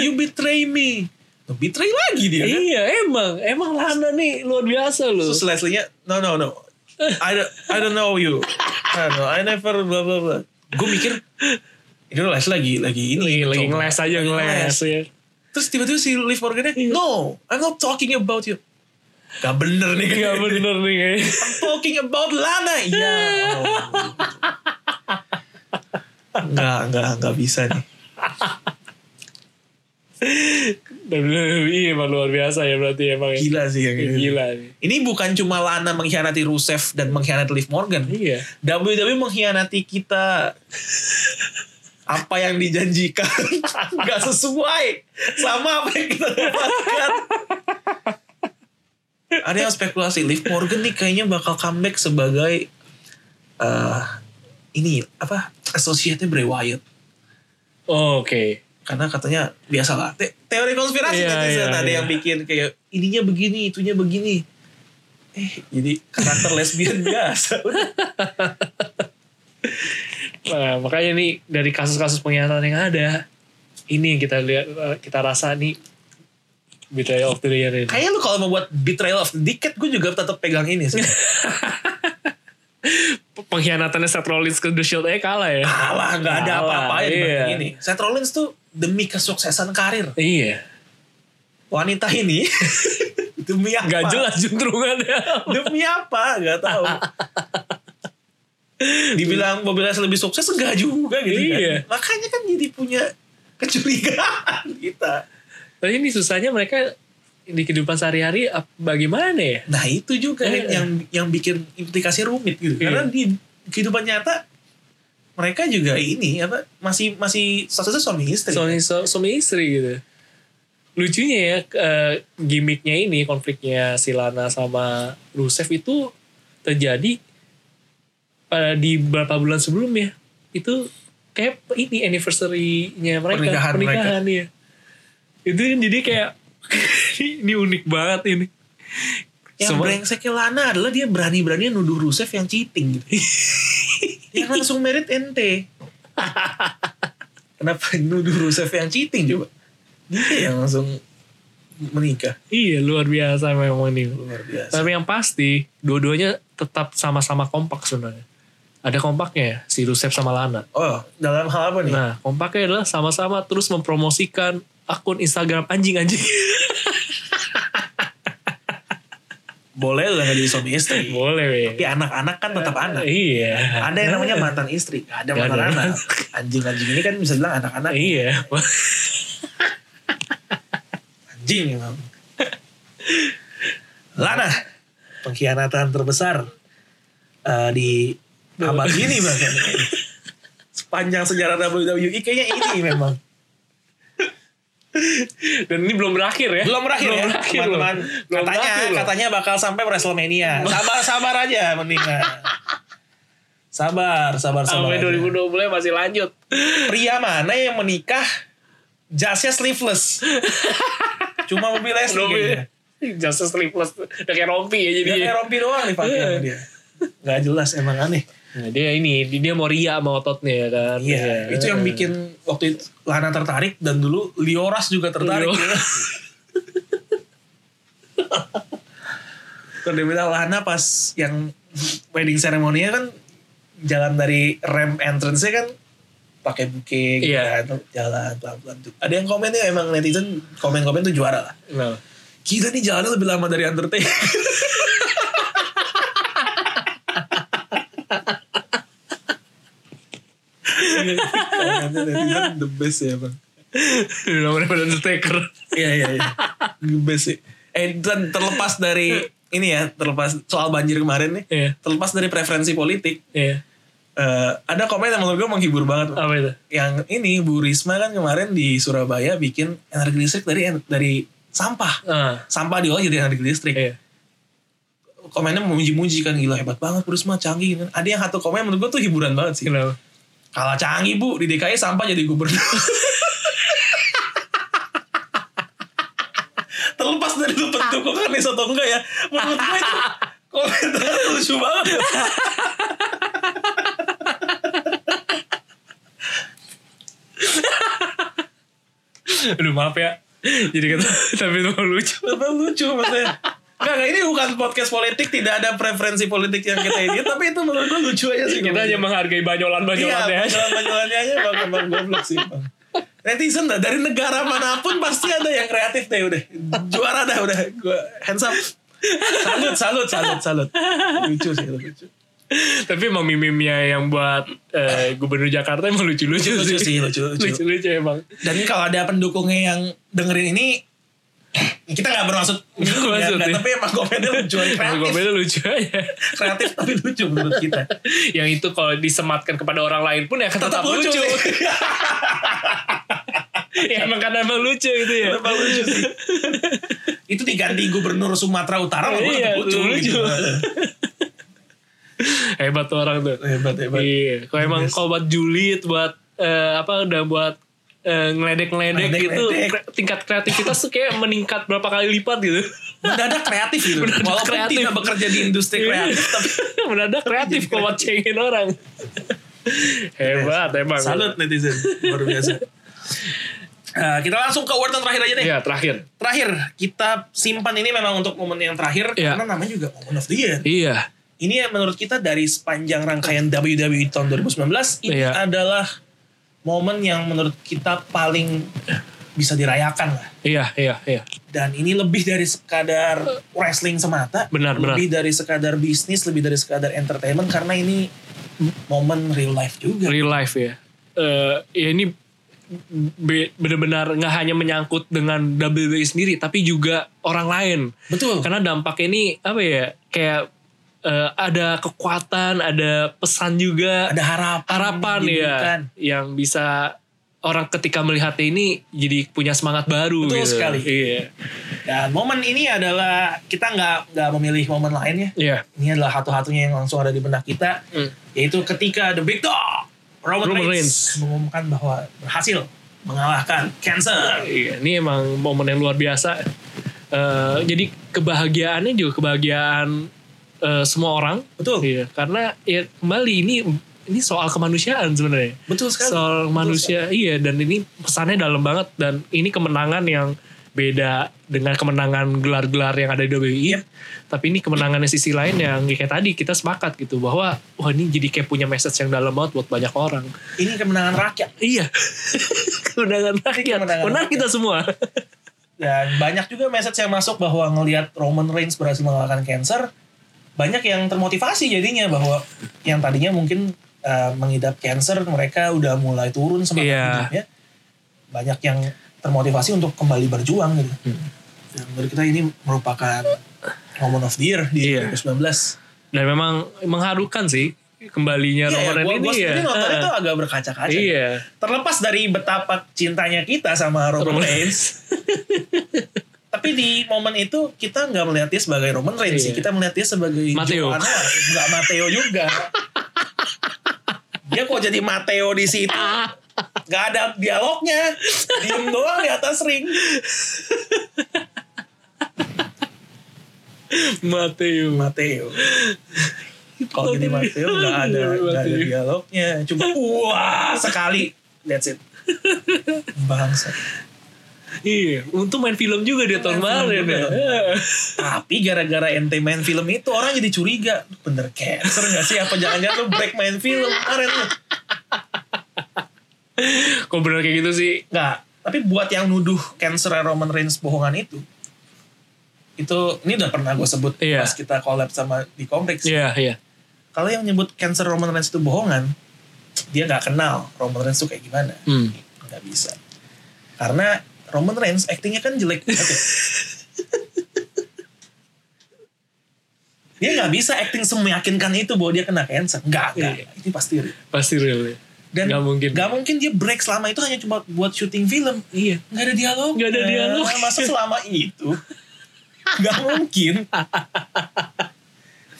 S1: you betray me Nge-betray lagi dia kan.
S2: Iya emang Emang Lana nih luar biasa loh
S1: Terus Leslie-nya, no no no. I don't, I don't know you. I don't know. I never blah blah blah. Gue mikir ini Leslie lagi lagi ini
S2: lagi, lagi
S1: coba.
S2: ngeles Iya. aja
S1: Lagi
S2: ngeles ya.
S1: Terus tiba-tiba si Liv Morgan no, I'm not talking about you. Gak bener nih
S2: Gak Iya, bener nih kayaknya.
S1: I'm talking about Lana. Iya. Enggak, enggak, enggak bisa nih.
S2: WWE iya, emang luar biasa ya berarti emang ya.
S1: Gila sih yang ini.
S2: Gila nih.
S1: Ini bukan cuma Lana mengkhianati Rusev dan mengkhianati Liv Morgan.
S2: Iya.
S1: WWE E mengkhianati kita. apa yang dijanjikan nggak sesuai sama apa yang kita dapatkan. Ada yang spekulasi Liv Morgan nih kayaknya bakal comeback sebagai eh ini apa asosiatnya Bray Wyatt
S2: Oke.
S1: karena katanya biasalah te- teori konspirasi
S2: Iya,
S1: netizen
S2: iya,
S1: ada
S2: iya.
S1: yang bikin kayak ininya begini itunya begini eh jadi karakter lesbian biasa udah.
S2: Nah, makanya nih dari kasus-kasus pengkhianatan yang ada ini yang kita lihat eh, kita rasa nih Betrayal of the Year
S1: Gitu.
S2: ini.
S1: kayaknya lu kalau mau buat betrayal of the decade gue juga tetap pegang ini sih
S2: Pengkhianatannya Seth Rollins ke The Shield eh kalah ya.
S1: kalah nggak ada
S2: Kalah,
S1: apa-apanya dibanding
S2: iya.
S1: ini Seth Rollins tuh demi kesuksesan karir
S2: Iya.
S1: wanita ini demi apa
S2: Gak jelas kan ya. juntrungannya.
S1: demi apa nggak tahu dibilang Bobby Lashley lebih sukses enggak juga gitu
S2: Iya.
S1: kan makanya kan jadi punya kecurigaan kita
S2: Tapi ini susahnya mereka di kehidupan sehari-hari ap- bagaimana ya?
S1: nah itu juga
S2: Iya.
S1: yang yang bikin implikasi rumit gitu
S2: Iya.
S1: karena di kehidupan nyata mereka juga ini apa masih masih statusnya suami istri
S2: suami su- suami istri gitu lucunya ya k- eh, gimmicknya ini konfliknya Silana sama Rusev itu terjadi pada di beberapa bulan sebelumnya itu kayak ini anniversary-nya mereka
S1: Pernikahan
S2: ya itu kan jadi kayak ini unik banget ini
S1: yang
S2: Semua-
S1: brengseknya Lana adalah dia berani-berani nuduh Rusev yang cheating gitu. yang langsung merit ente kenapa nuduh Rusev yang cheating coba dia yang langsung menikah
S2: iya luar biasa memang ini
S1: luar biasa
S2: Tapi yang pasti dua-duanya tetap sama-sama kompak sebenarnya. Ada kompaknya ya, si Rusev sama Lana.
S1: oh dalam hal apa nih
S2: Nah, kompaknya adalah sama-sama terus mempromosikan akun Instagram anjing-anjing.
S1: boleh lah nggak jadi suami istri
S2: Boleh, weh.
S1: tapi anak-anak kan tetap anak
S2: Iya.
S1: ada yang namanya mantan istri nggak ada
S2: Nggak
S1: mantan
S2: ada.
S1: anak anjing-anjing ini kan bisa bilang anak-anak
S2: Iya.
S1: anjing emang. Lana pengkhianatan terbesar eh, di abad ini bahkan sepanjang sejarah WWE kayaknya ini memang
S2: Dan ini belum berakhir ya.
S1: belum berakhir ya
S2: berakhir loh.
S1: teman-teman
S2: Belum
S1: katanya
S2: berakhir loh.
S1: katanya bakal sampai WrestleMania sabar sabar aja mendingan sabar sabar sabar
S2: Sampai
S1: aja.
S2: 2020 masih lanjut.
S1: pria mana yang menikah jasnya sleeveless cuma mobil Leslie kayaknya.
S2: Justice Sleepless. Udah kayak rompi ya jadi.
S1: Dia kayak rompi doang dipakai sama dia. Gak jelas emang aneh.
S2: Nah, dia ini, dia mau ria sama ototnya ya kan.
S1: Iya, itu yang bikin waktu itu Lana tertarik dan dulu Lioras juga tertarik. ya. Terus dia bilang Lana pas yang wedding ceremony kan jalan dari ramp entrance-nya kan pakai buke gitu
S2: Iya.
S1: kan, jalan pelan-pelan tuh. Ada yang komennya emang netizen komen-komen tuh juara lah.
S2: Nah.
S1: Gila nih jalannya lebih lama dari Undertaker. Komennya netizen Iya, the best ya bang.
S2: Namanya pada Undertaker.
S1: Iya iya iya. The best sih. Eh dan terlepas dari ini ya terlepas soal banjir kemarin nih.
S2: Iya.
S1: Terlepas dari preferensi politik.
S2: Iya.
S1: eh, ada komen yang menurut gue menghibur banget. Bang.
S2: Apa itu?
S1: Yang ini Bu Risma kan kemarin di Surabaya bikin energi listrik dari dari sampah.
S2: Ah.
S1: Sampah diolah jadi energi listrik.
S2: Iya.
S1: komennya memuji-muji kan gila hebat banget Bu Risma canggih kan. Ada yang satu komen menurut gue tuh hiburan banget sih.
S2: Kenapa?
S1: Kalah canggih Bu di DKI sampah jadi gubernur. Terlepas dari lu pendukung Anies atau enggak ya, menurut gue itu komentar lucu banget.
S2: Aduh maaf ya. Jadi kata tapi itu lucu.
S1: Tapi lucu maksudnya. Nggak, nggak, ini bukan podcast politik, tidak ada preferensi politik yang kita ini, tapi itu menurut gue lucu aja sih.
S2: Kita aja menghargai banyolan-banyolannya
S1: Iya,
S2: aja.
S1: banyolan-banyolannya aja bang, emang goblok sih. Bang. Netizen dah, dari negara manapun pasti ada yang kreatif deh udah. Juara dah udah, gue hands up. Salut, salut, salut, salut. Lucu sih, lucu.
S2: Tapi emang mimimnya yang buat eh, gubernur Jakarta emang lucu-lucu
S1: Lucu-lucu sih,
S2: sih.
S1: lucu-lucu.
S2: Lucu-lucu emang.
S1: Dan kalau ada pendukungnya yang dengerin ini, kita nggak bermaksud, menyinggung ya,
S2: Maksud,
S1: nggak,
S2: ya.
S1: tapi emang komennya lucu,
S2: Emang
S1: kreatif,
S2: Gobelnya lucu aja.
S1: kreatif tapi lucu menurut kita.
S2: yang itu kalau disematkan kepada orang lain pun ya akan tetap, lucu.
S1: sih.
S2: ya emang karena emang lucu gitu ya.
S1: Kenapa Iya, lucu sih? itu diganti gubernur Sumatera Utara malah
S2: Iya,
S1: tetap lucu,
S2: lucu.
S1: gitu.
S2: Hebat tuh orang tuh.
S1: hebat hebat.
S2: Iya, kalau emang kalau buat julid, buat eh, apa udah buat eh, ngeledek-ngeledek gitu,
S1: Ngeledek-ngeledek.
S2: kre- tingkat kreativitas tuh kayak meningkat berapa kali lipat gitu.
S1: Mendadak kreatif gitu.
S2: Mendadak
S1: Walaupun
S2: kreatif. Iya.
S1: tidak bekerja di industri kreatif tapi
S2: Mendadak kreatif kalau buat cengin orang. Hebat emang.
S1: salut netizen luar biasa. Eh, kita langsung ke word yang terakhir aja deh.
S2: Iya, terakhir.
S1: Terakhir kita simpan ini memang untuk momen yang terakhir
S2: Iya.
S1: karena namanya juga momen of the year.
S2: Iya.
S1: Ini yang menurut kita dari sepanjang rangkaian WWE tahun 2019 ini
S2: Iya.
S1: adalah momen yang menurut kita paling bisa dirayakan lah.
S2: Iya, iya, iya.
S1: dan ini lebih dari sekadar wrestling semata
S2: Benar, benar.
S1: lebih dari sekadar bisnis lebih dari sekadar entertainment karena ini momen real life juga
S2: real life ya. Eh ya ini be- benar-benar nggak hanya menyangkut dengan WWE sendiri, tapi juga orang lain.
S1: betul
S2: Karena dampak ini apa ya? Kayak eh, ada kekuatan, ada pesan juga,
S1: ada harapan
S2: harapan
S1: yang
S2: ya,
S1: diberikan.
S2: yang bisa orang ketika melihat ini jadi punya semangat baru.
S1: Betul
S2: gitu.
S1: sekali.
S2: Iya,
S1: dan momen ini adalah kita nggak nggak memilih momen lainnya
S2: iya.
S1: ini adalah satu-satunya yang langsung ada di benak kita
S2: Hmm.
S1: yaitu ketika the big dog Roman,
S2: Roman
S1: Reigns, mengumumkan bahwa berhasil mengalahkan cancer
S2: Iya, ini emang momen yang luar biasa. Eh, jadi kebahagiaannya juga kebahagiaan eh, semua orang.
S1: Betul.
S2: Iya, karena ya kembali ini ini soal kemanusiaan sebenarnya.
S1: betul sekali
S2: Soal manusia, iya. Dan ini pesannya dalam banget dan ini kemenangan yang beda dengan kemenangan gelar-gelar yang ada di WWE.
S1: Yep.
S2: Tapi ini kemenangannya sisi lain yang ya kayak tadi kita sepakat gitu bahwa wah ini jadi kayak punya message yang dalam banget buat banyak orang.
S1: ini kemenangan rakyat
S2: Iya. kemenangan rakyat.
S1: kemenangan
S2: Menang
S1: rakyat.
S2: kita semua.
S1: dan banyak juga message yang masuk bahwa ngelihat Roman Reigns berhasil mengalahkan cancer banyak yang termotivasi jadinya bahwa yang tadinya mungkin eh, mengidap cancer mereka udah mulai turun semangat
S2: Iya.
S1: hidupnya banyak yang termotivasi untuk kembali berjuang gitu
S2: Hmm.
S1: dan menurut kita ini merupakan moment of the year di
S2: Iya.
S1: 2019
S2: dan memang mengharukan sih kembalinya
S1: Iya,
S2: Roman
S1: gua,
S2: Reigns
S1: gua
S2: ini ya.
S1: sendiri nonton
S2: Ah,
S1: itu agak berkaca-kaca.
S2: Iya.
S1: Terlepas dari betapa cintanya kita sama Roman
S2: Roman
S1: Reigns. tapi di momen itu kita nggak melihat dia sebagai Roman Reigns sih.
S2: Iya.
S1: Kita melihat dia sebagai Joe
S2: Mateo.
S1: Anwar. Nggak Mateo juga. dia kok jadi Mateo di situ. Nggak ada dialognya. Diem doang di atas ring.
S2: Mateo.
S1: Mateo. Kalau jadi Mateo
S2: Iya,
S1: nggak ada, nggak ada
S2: Mateo.
S1: dialognya. Cuma wah sekali. That's it. Bangsa.
S2: Iya, untung main film juga dia tahun
S1: Main film
S2: kemarin ya.
S1: juga. Tapi gara-gara ente main film itu orang jadi curiga. Lu Bener cancer gak sih? Apa jangan-jangan lu break main film kemarin lu?
S2: Kok bener kayak gitu sih?
S1: Nggak. Tapi buat yang nuduh cancer Roman Reigns bohongan itu. Itu, ini udah pernah gue sebut
S2: Iya.
S1: pas kita collab sama di kompleks.
S2: Iya, iya.
S1: Kalau yang nyebut cancer Roman Reigns itu bohongan, dia nggak kenal Roman Reigns itu kayak gimana.
S2: Hmm.
S1: Nggak bisa. Karena Roman Reigns aktingnya kan jelek banget ya. dia nggak bisa acting semeyakinkan itu bahwa dia kena cancer. Nggak, nggak.
S2: Iya.
S1: Ini pasti real.
S2: Pasti real ya.
S1: Dan
S2: Nggak mungkin.
S1: nggak mungkin dia break selama itu hanya cuma buat syuting film.
S2: Iya.
S1: Nggak ada dialog. Eh,
S2: Nggak ada dialog.
S1: Masa selama itu? Nggak mungkin.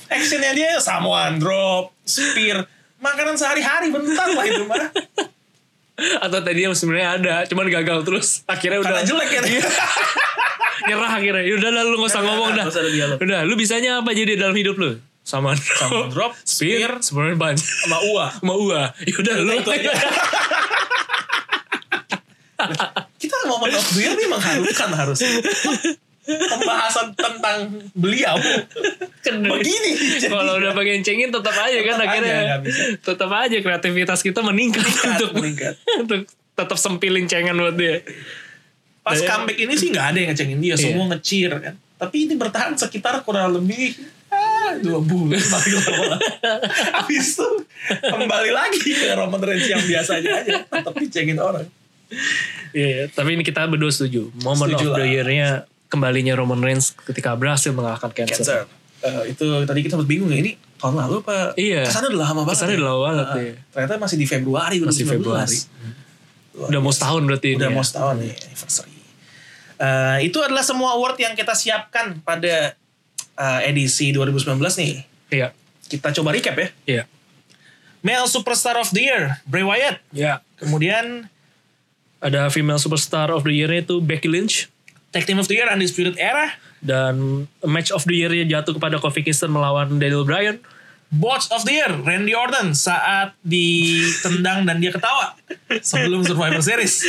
S1: Actionnya dia someone drop, spear. Makanan sehari-hari bentar lah itu mah.
S2: Atau tadi sebenarnya ada, cuman gagal terus. Akhirnya udah
S1: Karena jelek ya.
S2: Iya, nyerah akhirnya. Ya Udah lah lu gak usah ngomong dah.
S1: Nggak usah ada dialog.
S2: Udah, lu bisanya apa jadi dalam hidup lu? Sama
S1: Sama drop,
S2: spear, sebenarnya banyak.
S1: sama Ua.
S2: Ya Sama Ua. Yaudah lu.
S1: Itu aja. Kita mau momen of the year ini mengharukan harus. Pembahasan tentang beliau
S2: Kan dari-
S1: begini.
S2: kalau udah pengen cengin tetap aja kan
S1: Tetap
S2: akhirnya
S1: aja, nggak bisa.
S2: tetap aja kreativitas kita meningkat,
S1: Meningkat,
S2: untuk
S1: meningkat.
S2: untuk tetap sempilin cengan buat dia
S1: Pas
S2: Iya.
S1: comeback ini sih nggak ada yang ngecengin dia, semua ngecir kan. Tapi ini bertahan sekitar kurang lebih ah, dua bulan paling lama. Habis itu kembali lagi ke Roman Reigns yang biasanya aja, tetap dicengin orang.
S2: Iya, tapi ini kita berdua setuju momen
S1: Setuju
S2: of the
S1: lah.
S2: year-nya kembalinya Roman Reigns ketika berhasil mengalahkan cancer,
S1: Cancer. Eh, itu tadi kita sempat bingung ya ini tahun lalu apa?
S2: Iya.
S1: Kesannya udah lama banget.
S2: Kesannya
S1: ya?
S2: udah lama banget,
S1: Ah,
S2: iya.
S1: Ternyata masih di Februari 2019.
S2: Masih Februari. udah mau setahun berarti ini
S1: Udah
S2: ya.
S1: mau setahun nih anniversary. Eh, itu adalah semua award yang kita siapkan pada eh, edisi 2019 nih.
S2: iya
S1: Kita coba recap ya.
S2: iya
S1: Male Superstar of the Year, Bray Wyatt.
S2: iya
S1: Kemudian
S2: ada female superstar of the year itu Becky Lynch
S1: Tag Team of the Year, Undisputed Era.
S2: dan match of the year-nya jatuh kepada Kofi Kingston melawan Daniel Bryan
S1: Botch of the Year, Randy Orton saat ditendang dan dia ketawa sebelum Survivor Series.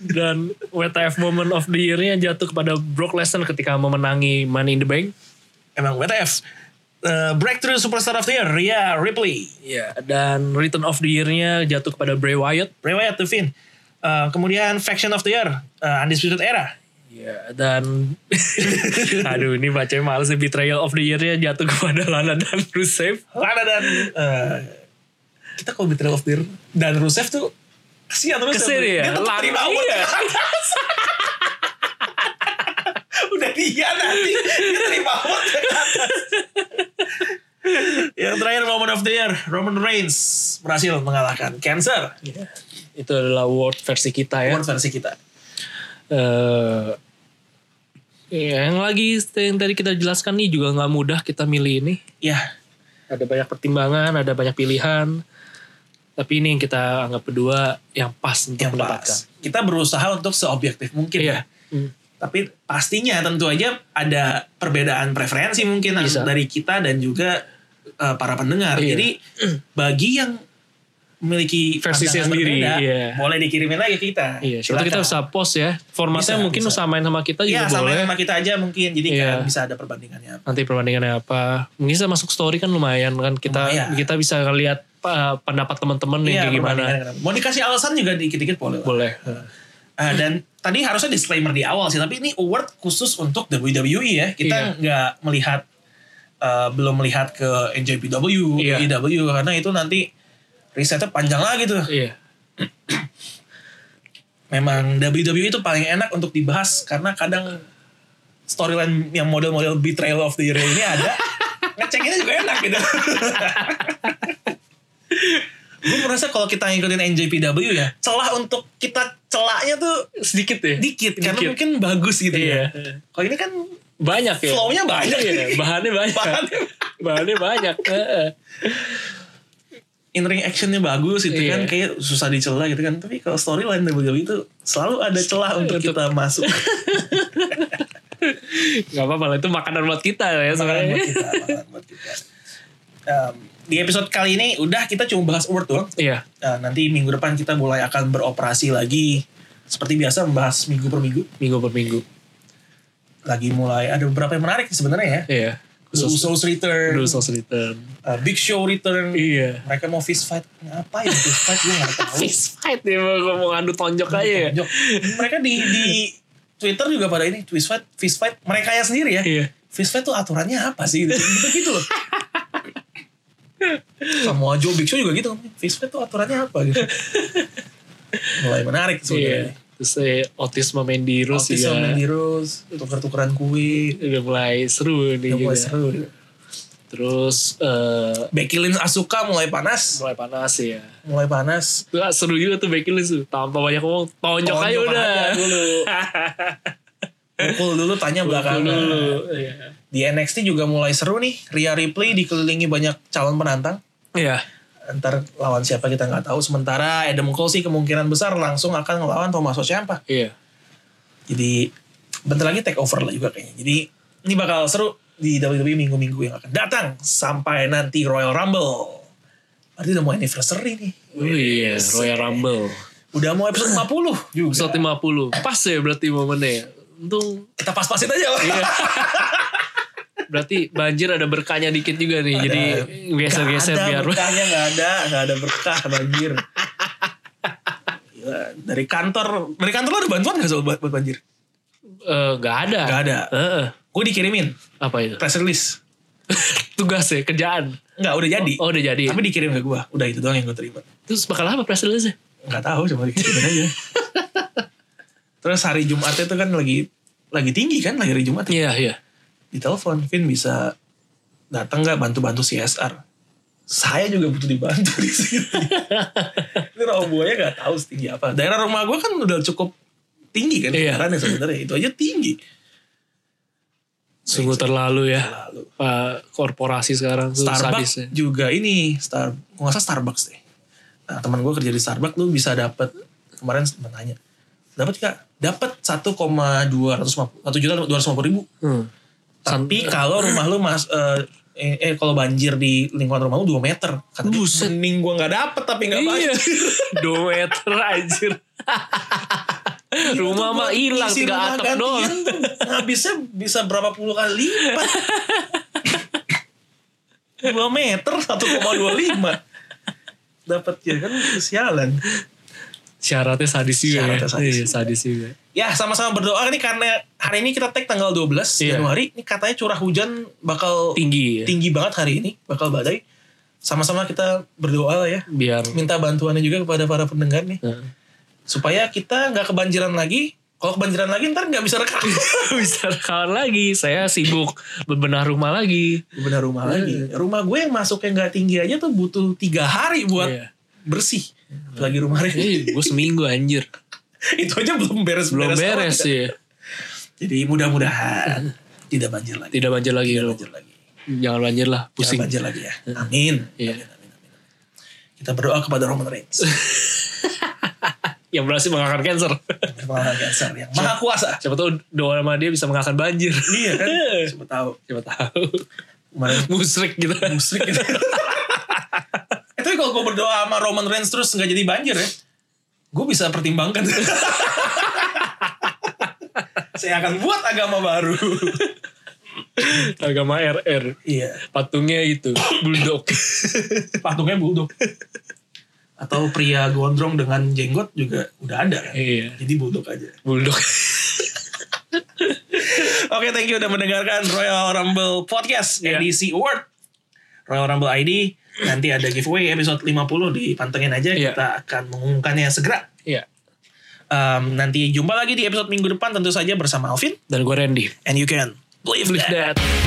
S2: dan WTF moment of the year-nya jatuh kepada Brock Lesnar ketika memenangi Money in the Bank
S1: Emang WTF. Eh, Breakthrough Superstar of the Year, Rhea Ripley.
S2: Iya, dan Return of the Year-nya jatuh kepada Bray Wyatt.
S1: Bray Wyatt, The Fiend. Eh, kemudian Faction of the Year, eh, Undisputed Era.
S2: Iya, dan aduh ini bacanya males sih. Betrayal of the Year-nya jatuh kepada Lana dan Rusev.
S1: Lana dan eh, kita kalau Betrayal of the Year dan Rusev tuh kasihan terus
S2: Kesian
S1: dia
S2: ya?
S1: tetap
S2: Lana,
S1: terima award
S2: iya.
S1: yang atas. udah dia nanti dia terima award yang atas yang terakhir Roman of the Year Roman Reigns berhasil mengalahkan Cancer
S2: Iya. Itu adalah award versi kita ya.
S1: award versi kita
S2: Eh, iya, yang lagi yang tadi kita jelaskan nih juga nggak mudah kita milih ini.
S1: ya
S2: Ada banyak pertimbangan, ada banyak pilihan. Tapi ini yang kita anggap berdua yang pas untuk
S1: yang
S2: mendapatkan.
S1: pas kita berusaha untuk seobjektif mungkin ya
S2: Hmm.
S1: tapi pastinya tentu aja ada perbedaan preferensi mungkin
S2: Bisa.
S1: dari kita dan juga eh, para pendengar.
S2: Iya.
S1: Jadi bagi yang memiliki
S2: Versi
S1: pandangan
S2: sendiri,
S1: berbeda,
S2: iya.
S1: boleh dikirimin lagi ke kita.
S2: Iya, silakan kita bisa post ya. Formatnya
S1: Bisa,
S2: mungkin
S1: bisa.
S2: samain sama kita
S1: Iya,
S2: juga
S1: sama
S2: boleh.
S1: sama kita aja mungkin. Jadi
S2: Iya.
S1: kan bisa ada perbandingannya.
S2: Nanti perbandingannya apa? Mungkin bisa masuk story kan lumayan kan kita
S1: Lumayan.
S2: kita bisa lihat uh, pendapat teman-teman nih
S1: Iya,
S2: kayak gimana.
S1: perbandingannya. Mau dikasih alasan juga dikit-dikit boleh. lah.
S2: Boleh.
S1: Eh, dan tadi harusnya disclaimer di awal sih, tapi ini award khusus untuk WWE ya.
S2: Iya.
S1: Kita nggak melihat eh, belum melihat ke NJPW,
S2: Iya.
S1: IW E karena itu nanti risetnya panjang lagi tuh.
S2: Iya.
S1: Memang WWE itu paling enak untuk dibahas karena kadang storyline yang model-model betrayal of the year ini ada. Ngecekinnya juga enak gitu. Gue merasa kalau kita ngikutin NJPW ya, celah untuk kita celaknya tuh
S2: Sedikit ya.
S1: dikit karena
S2: Dikit.
S1: mungkin bagus gitu ya.
S2: Iya.
S1: Kalau ini kan
S2: Banyak ya.
S1: flow-nya banyak.
S2: Iya, bahannya banyak.
S1: Bahannya-
S2: bahannya banyak. Heeh.
S1: in ring actionnya bagus gitu
S2: Iya.
S1: kan kayak susah dicela gitu kan. Tapi kalau storyline WWE E itu selalu ada celah untuk
S2: Untuk-
S1: kita masuk.
S2: Gak apa-apa lah itu makanan buat kita ya
S1: Makanan
S2: sebenarnya.
S1: buat kita, makanan buat kita. Em, di episode kali ini udah kita cuma bahas award doang.
S2: Iya.
S1: Nah, nanti minggu depan kita mulai akan beroperasi lagi. Seperti biasa membahas minggu per minggu.
S2: Minggu per minggu.
S1: Lagi mulai ada beberapa yang menarik sebenarnya ya.
S2: Iya.
S1: The
S2: Khusus
S1: Usos return,
S2: Dulu Sauce Return.
S1: uh, Big Show return.
S2: Iya.
S1: Mereka mau fist fight. Apa ya fist fight? Gue gak tau.
S2: Fist fight ya mau mau adu tonjok aja ya.
S1: Jok. Mereka di di Twitter juga pada ini fist fight, fist fight. Mereka ya sendiri ya.
S2: Iya.
S1: Fist fight tuh aturannya apa sih? Gitu gitu loh. Semua Joe Big Show juga gitu. Fist fight tuh aturannya apa gitu. Mulai menarik
S2: Iya.
S1: sebenarnya.
S2: Terus eh, autisme Mandy Rose
S1: Autism
S2: juga.
S1: Mandy Rose, tuker-tukeran kue,
S2: udah mulai seru nih
S1: udah mulai
S2: juga.
S1: seru.
S2: Terus eh,
S1: Becky Lynch Asuka mulai panas,
S2: mulai panas ya.
S1: mulai panas.
S2: Tuh, ah, seru juga tuh Becky Lynch tuh. Tanpa banyak ngomong, tonjok aja
S1: Tonjok
S2: udah.
S1: aja dulu. Pukul dulu tanya
S2: Belakang
S1: belakangan.
S2: dulu. Iya.
S1: Di NXT juga mulai seru nih. Rhea Ripley dikelilingi banyak calon penantang.
S2: Iya.
S1: Ntar lawan siapa kita nggak tahu. Sementara Adam Cole sih kemungkinan besar langsung akan ngelawan Tommaso Ciampa.
S2: Iya.
S1: Jadi bentar lagi take over lah juga kayaknya. Jadi ini bakal seru di WWE minggu-minggu yang akan datang. Sampai nanti Royal Rumble. Berarti udah mau anniversary nih.
S2: Oh iya, Royal Rumble.
S1: Udah mau episode 50.
S2: Juga. Episode 50. Pas ya berarti momennya. ya. Untung
S1: Kita pas-pasin aja. Pak.
S2: iya. berarti banjir ada berkahnya dikit juga nih. Jadi
S1: Nggak
S2: geser-geser
S1: ada
S2: biar
S1: berkahnya nggak ada nggak ada berkah banjir Gila, dari kantor dari kantor lo ada bantuan nggak soal buat buat banjir
S2: Eh, nggak ada.
S1: nggak ada
S2: Heeh.
S1: gue dikirimin
S2: apa itu?
S1: press release
S2: Tugas ya, kerjaan.
S1: nggak udah jadi
S2: Oh, udah jadi.
S1: tapi dikirim ke gue udah itu doang yang gue terima
S2: Terus bakal apa press release-nya?
S1: nggak tahu cuma dikirimin aja terus hari Jumat itu kan lagi lagi tinggi kan lagi hari Jumat
S2: Iya, iya.
S1: ditelepon Vin bisa datang nggak bantu-bantu CSR saya juga butuh dibantu di sini ini robohnya nggak tahu setinggi apa daerah rumah gue kan udah cukup tinggi kan
S2: Iya.
S1: daerahnya sebenarnya itu aja tinggi
S2: Sungguh terlalu ya.
S1: lalu
S2: Pak, korporasi sekarang tuh sadis ya.
S1: Starbucks juga ini Star gua nggak salah Starbucks deh nah teman gue kerja di Starbucks lu bisa dapat kemarin sempat tanya dapat nggak dapat 1,250 1 juta ribu
S2: Hmm.
S1: Tapi kalau rumah lu mas eh, eh, eh, kalau banjir di lingkungan rumah lu 2 meter. Kata dia,
S2: Buset.
S1: Mending gua nggak dapet tapi nggak
S2: Iya.
S1: banjir.
S2: Dometer anjir.
S1: Iya,
S2: Rumah mah hilang
S1: Isi
S2: tiga
S1: rumah
S2: atap
S1: gantian
S2: doang.
S1: tuh Habisnya bisa berapa puluh kali lipat. 2 meter 1,25. Dapat ya kan sialan.
S2: Syaratnya sadis juga
S1: Syaratnya
S2: ya.
S1: sadis
S2: Iya, sadis juga.
S1: Ya sama-sama berdoa nih karena hari ini kita tag tanggal 12
S2: Iya.
S1: Januari. Ini katanya curah hujan bakal
S2: Tinggi ya.
S1: tinggi banget hari ini. Bakal badai. Sama-sama kita berdoa lah ya.
S2: Biar eh.
S1: minta bantuannya juga kepada para pendengar nih
S2: Heeh.
S1: supaya kita nggak kebanjiran lagi kalau kebanjiran lagi ntar nggak bisa rekam
S2: bisa rekaman lagi. Saya sibuk berbenah rumah lagi.
S1: benar rumah
S2: Iya.
S1: lagi rumah gue yang masuknya nggak tinggi aja tuh butuh tiga hari buat
S2: Iya.
S1: bersih lagi rumah ini
S2: Ini gue Iya, seminggu anjir.
S1: itu aja belum beres
S2: Belum beres ya. sih.
S1: jadi mudah-mudahan tidak banjir lagi
S2: Tidak banjir lagi.
S1: tidak
S2: loh.
S1: banjir lagi
S2: Jangan banjir lah.
S1: Jangan
S2: Pusing.
S1: banjir lagi ya amin
S2: Iya.
S1: amin, amin, amin. kita berdoa kepada Roman Reigns
S2: Yang berhasil mengalahkan cancer.
S1: Maha Dasar yang maha kuasa
S2: Siapa tahu doa sama dia bisa mengalahkan banjir.
S1: iya kan siapa tahu
S2: Siapa tahu.
S1: kemarin
S2: Musrik gitu.
S1: musrik gitu. Eh, Tapi kalau gue berdoa sama Roman Reigns terus nggak jadi banjir ya, gue bisa pertimbangkan. Saya akan buat agama baru.
S2: Agama RR.
S1: iya.
S2: Patungnya itu. Bulldog.
S1: Patungnya bulldog. Atau pria gondrong dengan jenggot juga udah ada kan.
S2: Iya.
S1: Jadi bulldog aja.
S2: Bulldog.
S1: Oke, thank you udah mendengarkan Royal Rumble Podcast
S2: Iya.
S1: edisi Award. Royal Rumble ID nanti ada giveaway episode 50 dipantengin aja
S2: Iya.
S1: kita akan mengumumkannya segera.
S2: Iya.
S1: Um, nanti jumpa lagi di episode minggu depan tentu saja bersama Alvin
S2: Dan gue Randy.
S1: and you can believe
S2: Believe
S1: that.
S2: that.